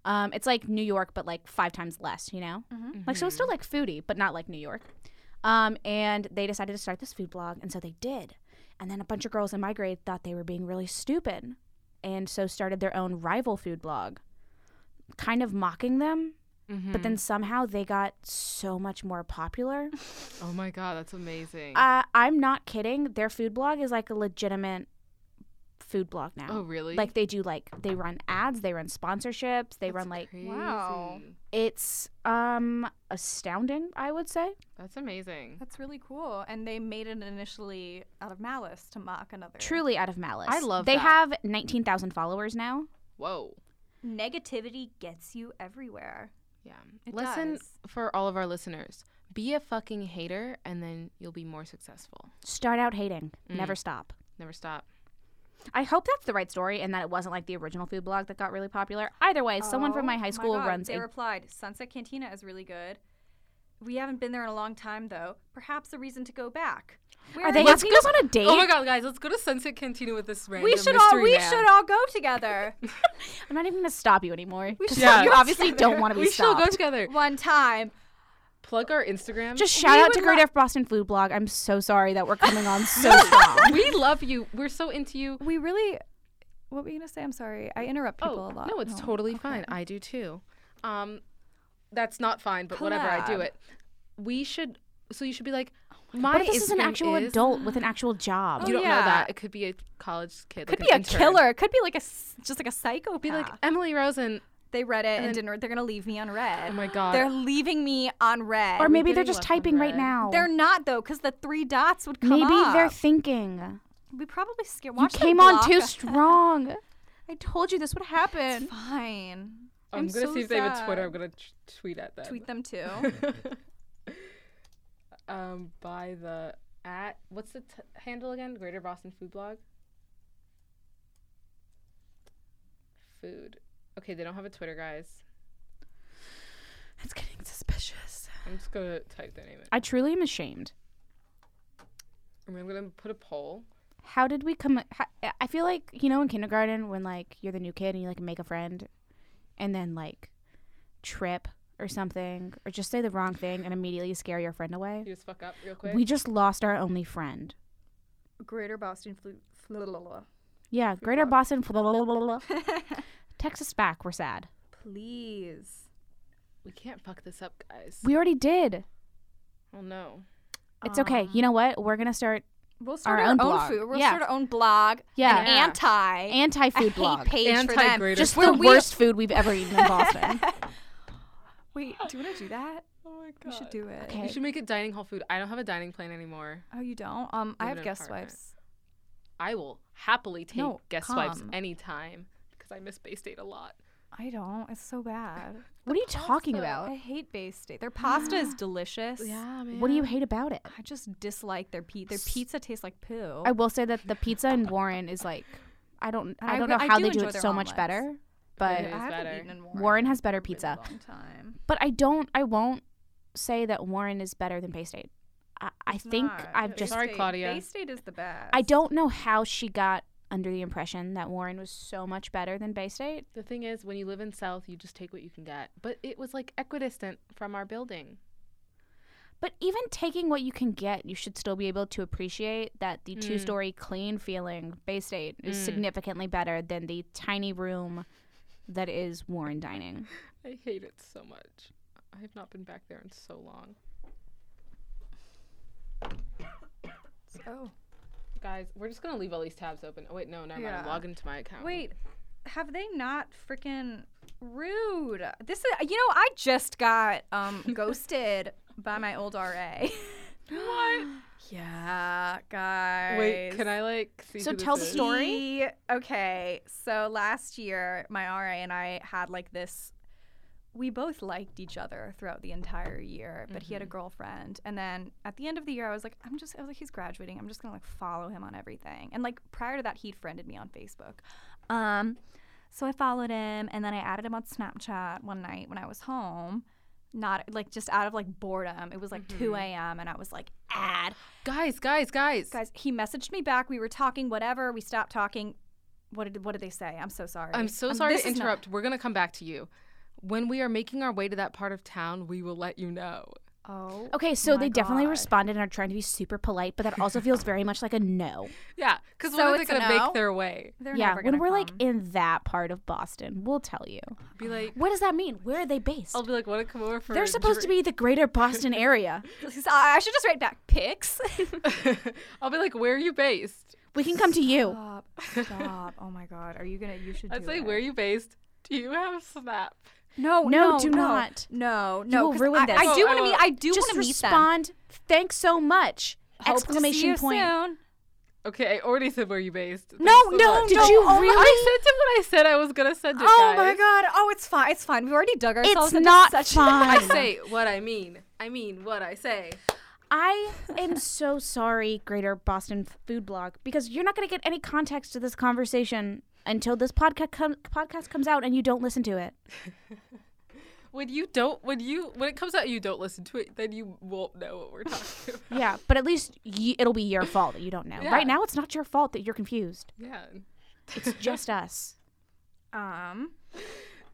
S4: Um, it's like New York, but like five times less, you know? Like, so it's still like foodie, but not like New York. Um, and they decided to start this food blog, and so they did. And then a bunch of girls in my grade thought they were being really stupid, and so started their own rival food blog, kind of mocking them.
S3: Mm-hmm.
S4: But
S3: Mm.
S4: then somehow they got so much more popular.
S3: Oh my god, that's amazing.
S4: uh, I'm not kidding. Their food blog is like a legitimate food blog now.
S3: oh really?
S4: Like they do like they run ads, they run sponsorships, they
S3: That's
S4: run like
S2: Wow.
S3: crazy.
S4: it's um astounding, I would say.
S3: That's amazing.
S2: That's really cool. And they made it initially out of malice to mock another.
S4: Truly out of malice.
S3: I love
S4: They
S3: that.
S4: have 19,000 followers now.
S3: Whoa.
S2: Negativity gets you everywhere.
S3: Yeah.
S2: It
S3: Lesson
S2: does.
S3: for all of our listeners: be a fucking hater, and then you'll be more successful.
S4: Start out hating,
S3: Mm.
S4: never stop.
S3: Never stop.
S4: I hope that's the right story and that it wasn't like the original food blog that got really
S3: Oh
S4: popular. Either way, someone from my high school runs
S2: Oh They
S4: a
S2: replied, Sunset Cantina is really good. we haven't been there in a long time, though. Perhaps a reason to go back. Where
S4: Are they
S2: we-
S4: asking us on a date?
S3: Oh my god, guys, let's go to Sunset Cantina with this random
S2: We should all
S3: mystery
S2: we
S3: man.
S2: should all go together
S4: I'm not even gonna stop you anymore.
S2: We
S4: Just-
S2: shall
S3: go
S4: you obviously
S2: together.
S4: don't want to be
S3: We should all
S4: stopped.
S3: go together.
S2: one time.
S3: Plug our Instagram.
S4: Just shout out
S2: would
S4: to Great
S2: lo-
S4: F Boston Food Blog. I'm so sorry that we're coming on so strong.
S3: we love you. We're so into you. Oh,
S2: We really. What were you gonna say? I'm sorry. I
S4: Oh,
S2: interrupt people a lot. Oh.
S3: No, it's totally fine. I do too. Um, that's not fine, but whatever. I do
S2: Collab.
S3: it. We should. So you should be like, my.
S4: What if this is an
S3: Instagram
S4: actual
S3: is-" Oh,
S4: adult with an actual job?
S3: You don't know
S2: yeah.
S3: that. It could be a college kid.
S2: Could
S3: like
S2: be a
S3: an intern.
S2: killer. It could be like a s- just like a psychopath.
S3: Be like Emily Rosen.
S2: they read it and,
S3: then-
S2: didn't. They're gonna leave me on red.
S3: Oh my god.
S2: They're leaving me on red.
S4: or maybe they're
S3: getting
S4: just
S3: left on
S4: typing right
S3: red?
S4: now.
S2: they're not though, because the three dots would come
S4: maybe they're
S2: up.
S4: thinking.
S2: we probably scared.
S4: You
S2: Watch them
S4: came on
S2: block
S4: too
S2: us.
S4: strong. I told you this would happen.
S2: Fine.
S3: I'm, gonna
S2: so
S3: see if they have a
S2: sad.
S3: Twitter. I'm gonna t- tweet at them.
S2: Tweet them Oh too.
S3: um, by the at what's the t- handle again? Greater Boston Food Blog. Food. Okay, they don't have a Twitter, guys.
S4: It's getting suspicious.
S3: I'm just gonna type their name in.
S4: I truly am ashamed.
S3: I mean, I'm gonna put a poll.
S4: How did we come? How, I feel like you know in kindergarten when like you're the new kid and you like make a friend, and then like trip or something, or just say the wrong thing and immediately scare your friend away.
S3: You just fuck up real quick.
S4: We just lost our only friend.
S2: Greater Boston flu. flu-
S4: Yeah, Greater Boston. Blah, blah, blah, blah. Text us back. We're sad.
S2: Please.
S3: we can't fuck this up, guys.
S4: We already did.
S3: oh no.
S4: It's okay. You know what? We're gonna start
S2: We'll start
S4: Our
S2: our,
S4: own
S2: own,
S4: blog.
S2: food. We'll
S4: Yeah.
S2: start our own blog.
S4: Yeah.
S2: An
S3: Yeah.
S2: anti.
S4: anti-food
S2: I hate
S4: blog.
S2: page for them.
S3: Anti-greater.
S4: Just
S2: where
S4: the
S2: we-
S4: worst food we've ever eaten in Boston.
S2: Wait, do you want to do that?
S3: Oh my god.
S2: We should do it.
S4: Okay.
S3: We should make it dining hall food. I don't have a dining plan anymore.
S2: Oh, you don't? Um, I
S3: Live
S2: have
S3: in an
S2: guest
S3: apartment.
S2: swipes.
S3: I will happily take
S2: No,
S3: guest swipes
S2: come.
S3: anytime because I miss Bay State a lot.
S2: I don't. It's so bad.
S4: What are you talking
S2: I
S4: about?
S2: hate Bay State. Their pasta is delicious.
S3: man.
S4: What do you hate about it?
S2: I just dislike their pizza. Their pizza tastes like poo.
S4: I will say that the pizza in Warren is like I don't I
S2: I
S4: don't
S2: re-
S4: know
S2: I
S4: how
S2: do
S4: they do
S2: enjoy
S4: it
S2: their
S4: so much
S2: omelets.
S4: better,
S2: I
S4: but
S3: It is
S2: haven't
S3: better.
S2: eaten in Warren,
S4: Warren has better
S2: in a
S4: pizza.
S2: long time.
S4: But I don't I won't say that Warren is better than Bay State. I, I think
S2: Not.
S4: I've
S2: Bay
S4: just
S3: Sorry,
S2: State-
S3: Claudia.
S2: Bay State is the best.
S4: I don't know how she got under the impression that Warren was so much better than Bay State.
S3: The thing is, when you live in South, you just take what you can get. But it was like equidistant from our building.
S4: But even taking what you can get, you should still be able to appreciate that
S2: Mm.
S4: the two story clean feeling Bay State is significantly better than the tiny room that is Warren Dining.
S3: I hate it so much. I have not been back there in so long.
S2: Oh.
S3: Guys, we're just gonna leave all these tabs open. Oh wait, no, never mind. I'm
S2: Yeah.
S3: logging into my account.
S2: Wait, have they not freaking rude? This is you know I just got um ghosted by my old RA. what? Yeah, guys.
S3: Wait, can I like see?
S4: So
S3: who this
S4: tell the
S3: is?
S4: story.
S2: He- okay, so last year my RA and I had like this. We both liked each other throughout the entire year, but he had a
S4: Mm-hmm.
S2: girlfriend. And then at the end of the year, I was like, I'm just, I was like, he's graduating. I'm just gonna like follow him on everything. And like prior to that, he'd friended me on Facebook. Um, so I followed him, and then I added him on Snapchat one night when I was home. Not like just out of like boredom. It was like 2
S4: Mm-hmm.
S2: a.m. and I was like, add.
S3: Guys, guys, guys.
S2: Guys, he messaged me back. We were talking, whatever. We stopped talking. What did what did they say? I'm so sorry.
S3: I'm so
S2: Um,
S3: sorry
S2: this
S3: to
S2: is not-
S3: interrupt. We're gonna come back to you. When we are making our way to that part of town, we will let you know.
S2: oh,
S4: Okay, so
S2: my
S4: they definitely
S2: God.
S4: responded and are trying to be super polite, but that also feels very much like a no.
S3: Yeah, because
S2: So
S3: when are they
S2: it's a
S3: gonna
S2: no?
S3: make their way?
S2: They're
S4: yeah,
S2: never
S4: when
S2: gonna
S4: we're like
S2: come.
S4: in that part of Boston, we'll tell you.
S3: Be like,
S4: What does that mean? Where are they based?
S3: I'll be like, want to come over for?
S4: They're supposed to be the greater Boston area.
S2: I I should just write back pics.
S3: to be. I'll be like, where are you based?
S4: We can come to you.
S2: stop, stop. Oh my god, are you gonna? You should.
S3: I'd
S2: do
S3: say,
S2: it.
S3: where are you based? Do you have Snap?
S2: No,
S4: No,
S2: no,
S4: do
S2: no,
S4: not.
S2: No, no.
S4: will
S2: 'cause
S4: ruin
S2: I,
S4: this.
S2: I do want
S3: Oh,
S2: to
S3: I
S2: meet.
S3: will.
S2: I do want
S4: Just
S2: to meet them.
S4: respond. Thanks so much!
S2: Hope to see
S4: exclamation
S2: you
S4: point.
S2: soon.
S3: Okay, I already said where you based. Thanks
S4: No,
S3: so
S4: no,
S3: much.
S4: did
S2: no.
S4: you
S2: Oh my-
S4: really?
S3: I sent him what I said I was gonna send it.
S2: Oh my
S3: guys.
S2: god. Oh, it's fine. It's fine. We've already dug ourselves.
S4: It's
S2: into
S4: not
S2: such
S4: fine.
S3: I say what I mean. I mean what I say.
S4: I am so sorry, Greater Boston Food Blog, because you're not going to get any context to this conversation until this podcast com- podcast comes out and you don't listen to it.
S3: When you don't, when you when it comes out, you don't listen to it, then you won't know what we're talking about.
S4: Yeah, but at least y- it'll be your fault that you don't know.
S3: Yeah.
S4: Right now, it's not your fault that you're confused.
S3: Yeah. Did
S4: It's just us.
S2: Um,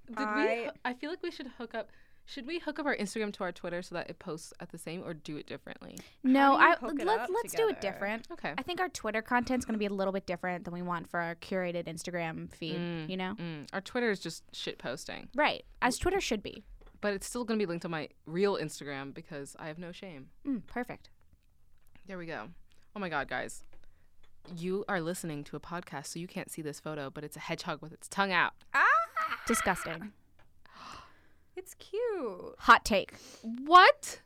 S3: we?
S2: I-
S3: I feel like we should hook up. Should we hook up our Instagram to our Twitter so that it posts at the same, or do it differently?
S4: No,
S2: do you
S4: I
S2: hook it
S4: let's
S2: up
S4: let's do it
S2: together?
S4: different.
S3: Okay.
S4: I think our Twitter content's going to be a little bit different than we want for our curated Instagram feed.
S3: Mm,
S4: You know,
S3: mm. Our Twitter is just shit posting,
S4: right? As Twitter should be.
S3: but it's still gonna be linked to my real Instagram because I have no shame.
S4: Mm, perfect.
S3: There we go. Oh my god, guys. You are listening to a podcast, so you can't see this photo, but it's a hedgehog with its tongue out.
S4: Disgusting.
S2: it's cute.
S4: Hot take.
S3: What?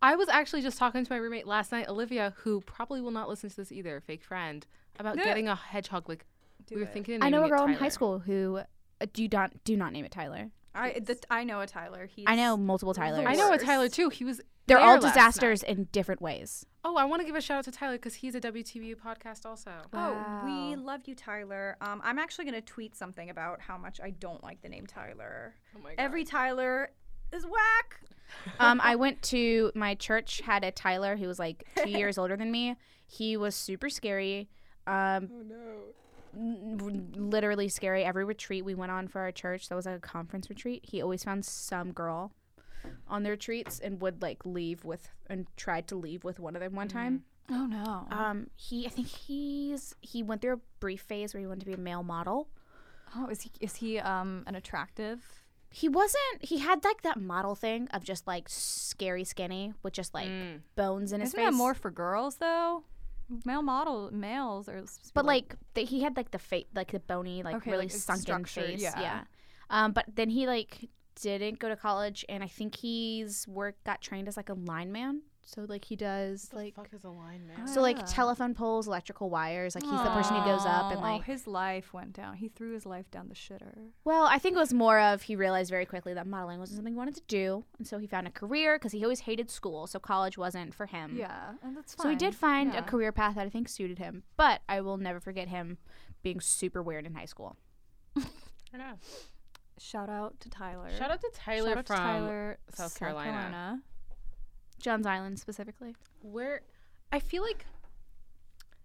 S3: I was actually just talking to my roommate last night, Olivia, who probably will not listen to this either, fake friend, about
S2: No.
S3: getting a hedgehog. Like
S2: Do
S3: we were
S2: it.
S3: thinking. Of
S4: I know a
S3: naming it
S4: girl in high
S3: Tyler.
S4: school who uh, do not do not name it Tyler.
S2: I the, I know a Tyler. He's
S4: I know multiple Tylers.
S3: I know a
S2: Worst.
S3: Tyler too. He was.
S4: They're
S3: there
S4: all
S3: last night.
S4: disasters in different ways.
S3: Oh, I want to give a shout out to Tyler because he's a WTBU podcast also.
S2: Oh, we
S4: Wow.
S2: love you, Tyler. Um, I'm actually gonna tweet something about how much I don't like the name Tyler.
S3: Oh my god.
S2: Every Tyler is whack.
S4: um, I went to my church had a Tyler who was like two years older than me. He was super scary. Um,
S3: oh no.
S4: n- literally scary. Every retreat we went on for our church that was like a conference retreat, he always found some girl on their retreats and would like leave with and tried to leave with one of them one time.
S2: Oh no.
S4: Um, he I think he's he went through a brief phase where he wanted to be a male model.
S2: Oh, is he is he um an attractive?
S4: He wasn't. He had like that model thing of just like scary skinny with just like
S3: Mm.
S4: bones in his
S2: Isn't
S4: face.
S2: that more for girls though? Male model males are. supposed to be
S4: But like the, he had like the fa like the bony, like
S2: Okay,
S4: really
S2: like, it's
S4: sunken
S2: structured,
S4: face. Yeah.
S2: yeah.
S4: Um, but then he like didn't go to college, and I think he's work got trained as like a lineman. So like he does like
S3: fuck is a lineman?
S4: so like
S2: Ah.
S4: telephone poles, electrical wires. Like he's the person who goes up and
S2: Oh,
S4: like.
S2: his life went down. He threw his life down the shitter.
S4: Well, I think it was more of he realized very quickly that modeling wasn't something he wanted to do, and so he found a career because he always hated school, so college wasn't for him.
S2: Yeah, and that's fine.
S4: So he did find
S2: Yeah.
S4: a career path that I think suited him, but I will never forget him being super weird in high school.
S3: I know.
S2: Shout out to Tyler.
S3: Shout out to Tyler
S2: Shout out
S3: from
S2: to Tyler,
S3: South Carolina.
S4: John's Island specifically.
S3: where. I feel like.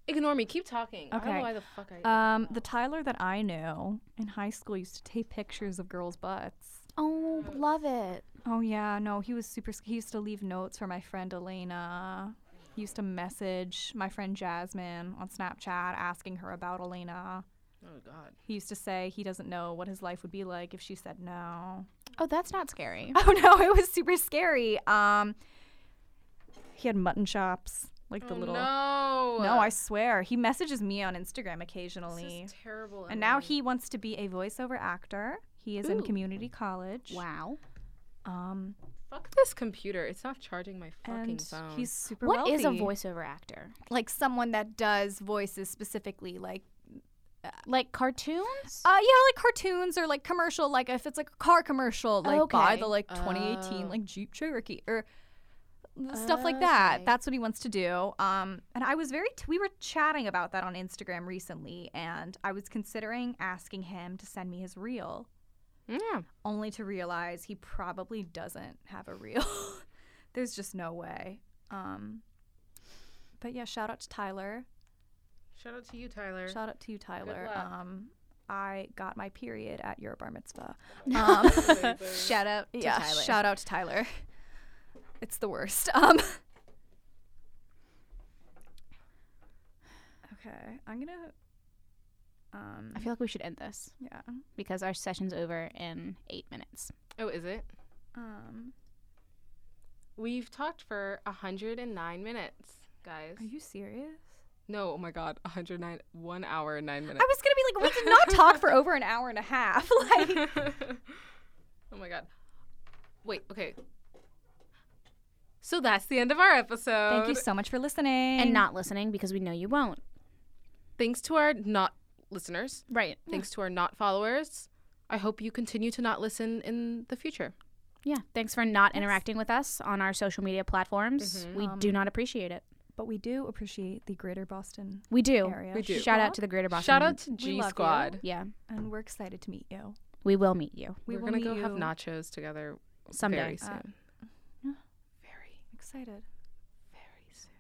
S3: Ignore me. Keep talking. I don't know
S2: Okay.
S3: why the fuck I.
S2: Um, the Tyler that I knew in high school used to take pictures of girls' butts.
S4: Oh, love it.
S2: Oh yeah, no, he was super. sc- He used to leave notes for my friend Elena. He used to message my friend Jasmine on Snapchat asking her about Elena.
S3: oh god.
S2: He used to say he doesn't know what his life would be like if she said no.
S4: Oh, that's not scary.
S2: Oh no, it was super scary. Um, he had mutton chops, like the
S3: oh,
S2: little.
S3: No.
S2: No, I swear. He messages me on Instagram occasionally.
S3: This is terrible.
S2: and now
S3: Emily.
S2: he wants to be a voiceover actor. He is in community college.
S4: Wow.
S2: Um,
S3: Fuck this computer. It's not charging my fucking
S2: and
S3: phone.
S2: he's super
S4: What is a
S2: wealthy.
S4: voiceover actor?
S2: Like someone that does voices specifically, like
S4: Like cartoons?
S2: uh, yeah, like cartoons or like commercial, like if it's like a car commercial, like buy
S4: Okay.
S2: the like 2018 like Jeep Cherokee or stuff like
S4: Okay.
S2: that. That's what he wants to do. Um, and I was very t- we were chatting about that on Instagram recently, and I was considering asking him to send me his reel,
S3: yeah.
S2: only to realize he probably doesn't have a reel. There's just no way. Um, but yeah, shout out to Tyler.
S3: Shout out to you, Tyler.
S2: Shout out to you, Tyler.
S3: luck.
S2: Um, I got my period at your bar mitzvah. Um,
S4: Shout out to
S2: yeah,
S4: Tyler.
S2: shout out to Tyler. It's the worst. Um, okay, I'm gonna. Um,
S4: I feel like we should end this
S2: yeah.
S4: because our session's over in eight minutes.
S3: oh, is it?
S2: Um,
S3: We've talked for 109 minutes, guys.
S2: are you serious?
S3: No, oh my god, 109, one hour and nine
S2: I
S3: minutes.
S2: was gonna be like, we did not talk for over an hour and a half. Like,
S3: oh my god. Wait, okay. So that's the end of our episode.
S2: thank you so much for listening.
S4: And not listening because we know you won't.
S3: Thanks to our not listeners.
S4: Right.
S3: Thanks to our not followers. I hope you continue to not listen in the future.
S4: Yeah. Thanks for not interacting with us on our social media platforms. We do not appreciate it.
S2: but we do appreciate the Greater Boston
S4: We do.
S2: area.
S3: we do.
S4: Shout out to the Greater Boston.
S3: Shout out to G
S2: love you.
S3: Squad.
S4: Yeah.
S2: and we're excited to meet you.
S4: We will meet you.
S2: We
S3: We're
S2: will
S3: gonna
S2: meet
S3: go have
S2: you.
S3: nachos together
S4: someday.
S3: Very
S2: Uh,
S3: soon.
S2: yeah.
S3: Very,
S2: Excited.
S3: very soon.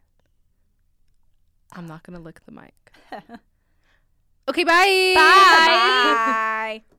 S3: I'm not going to lick the mic. okay, bye.
S2: Bye.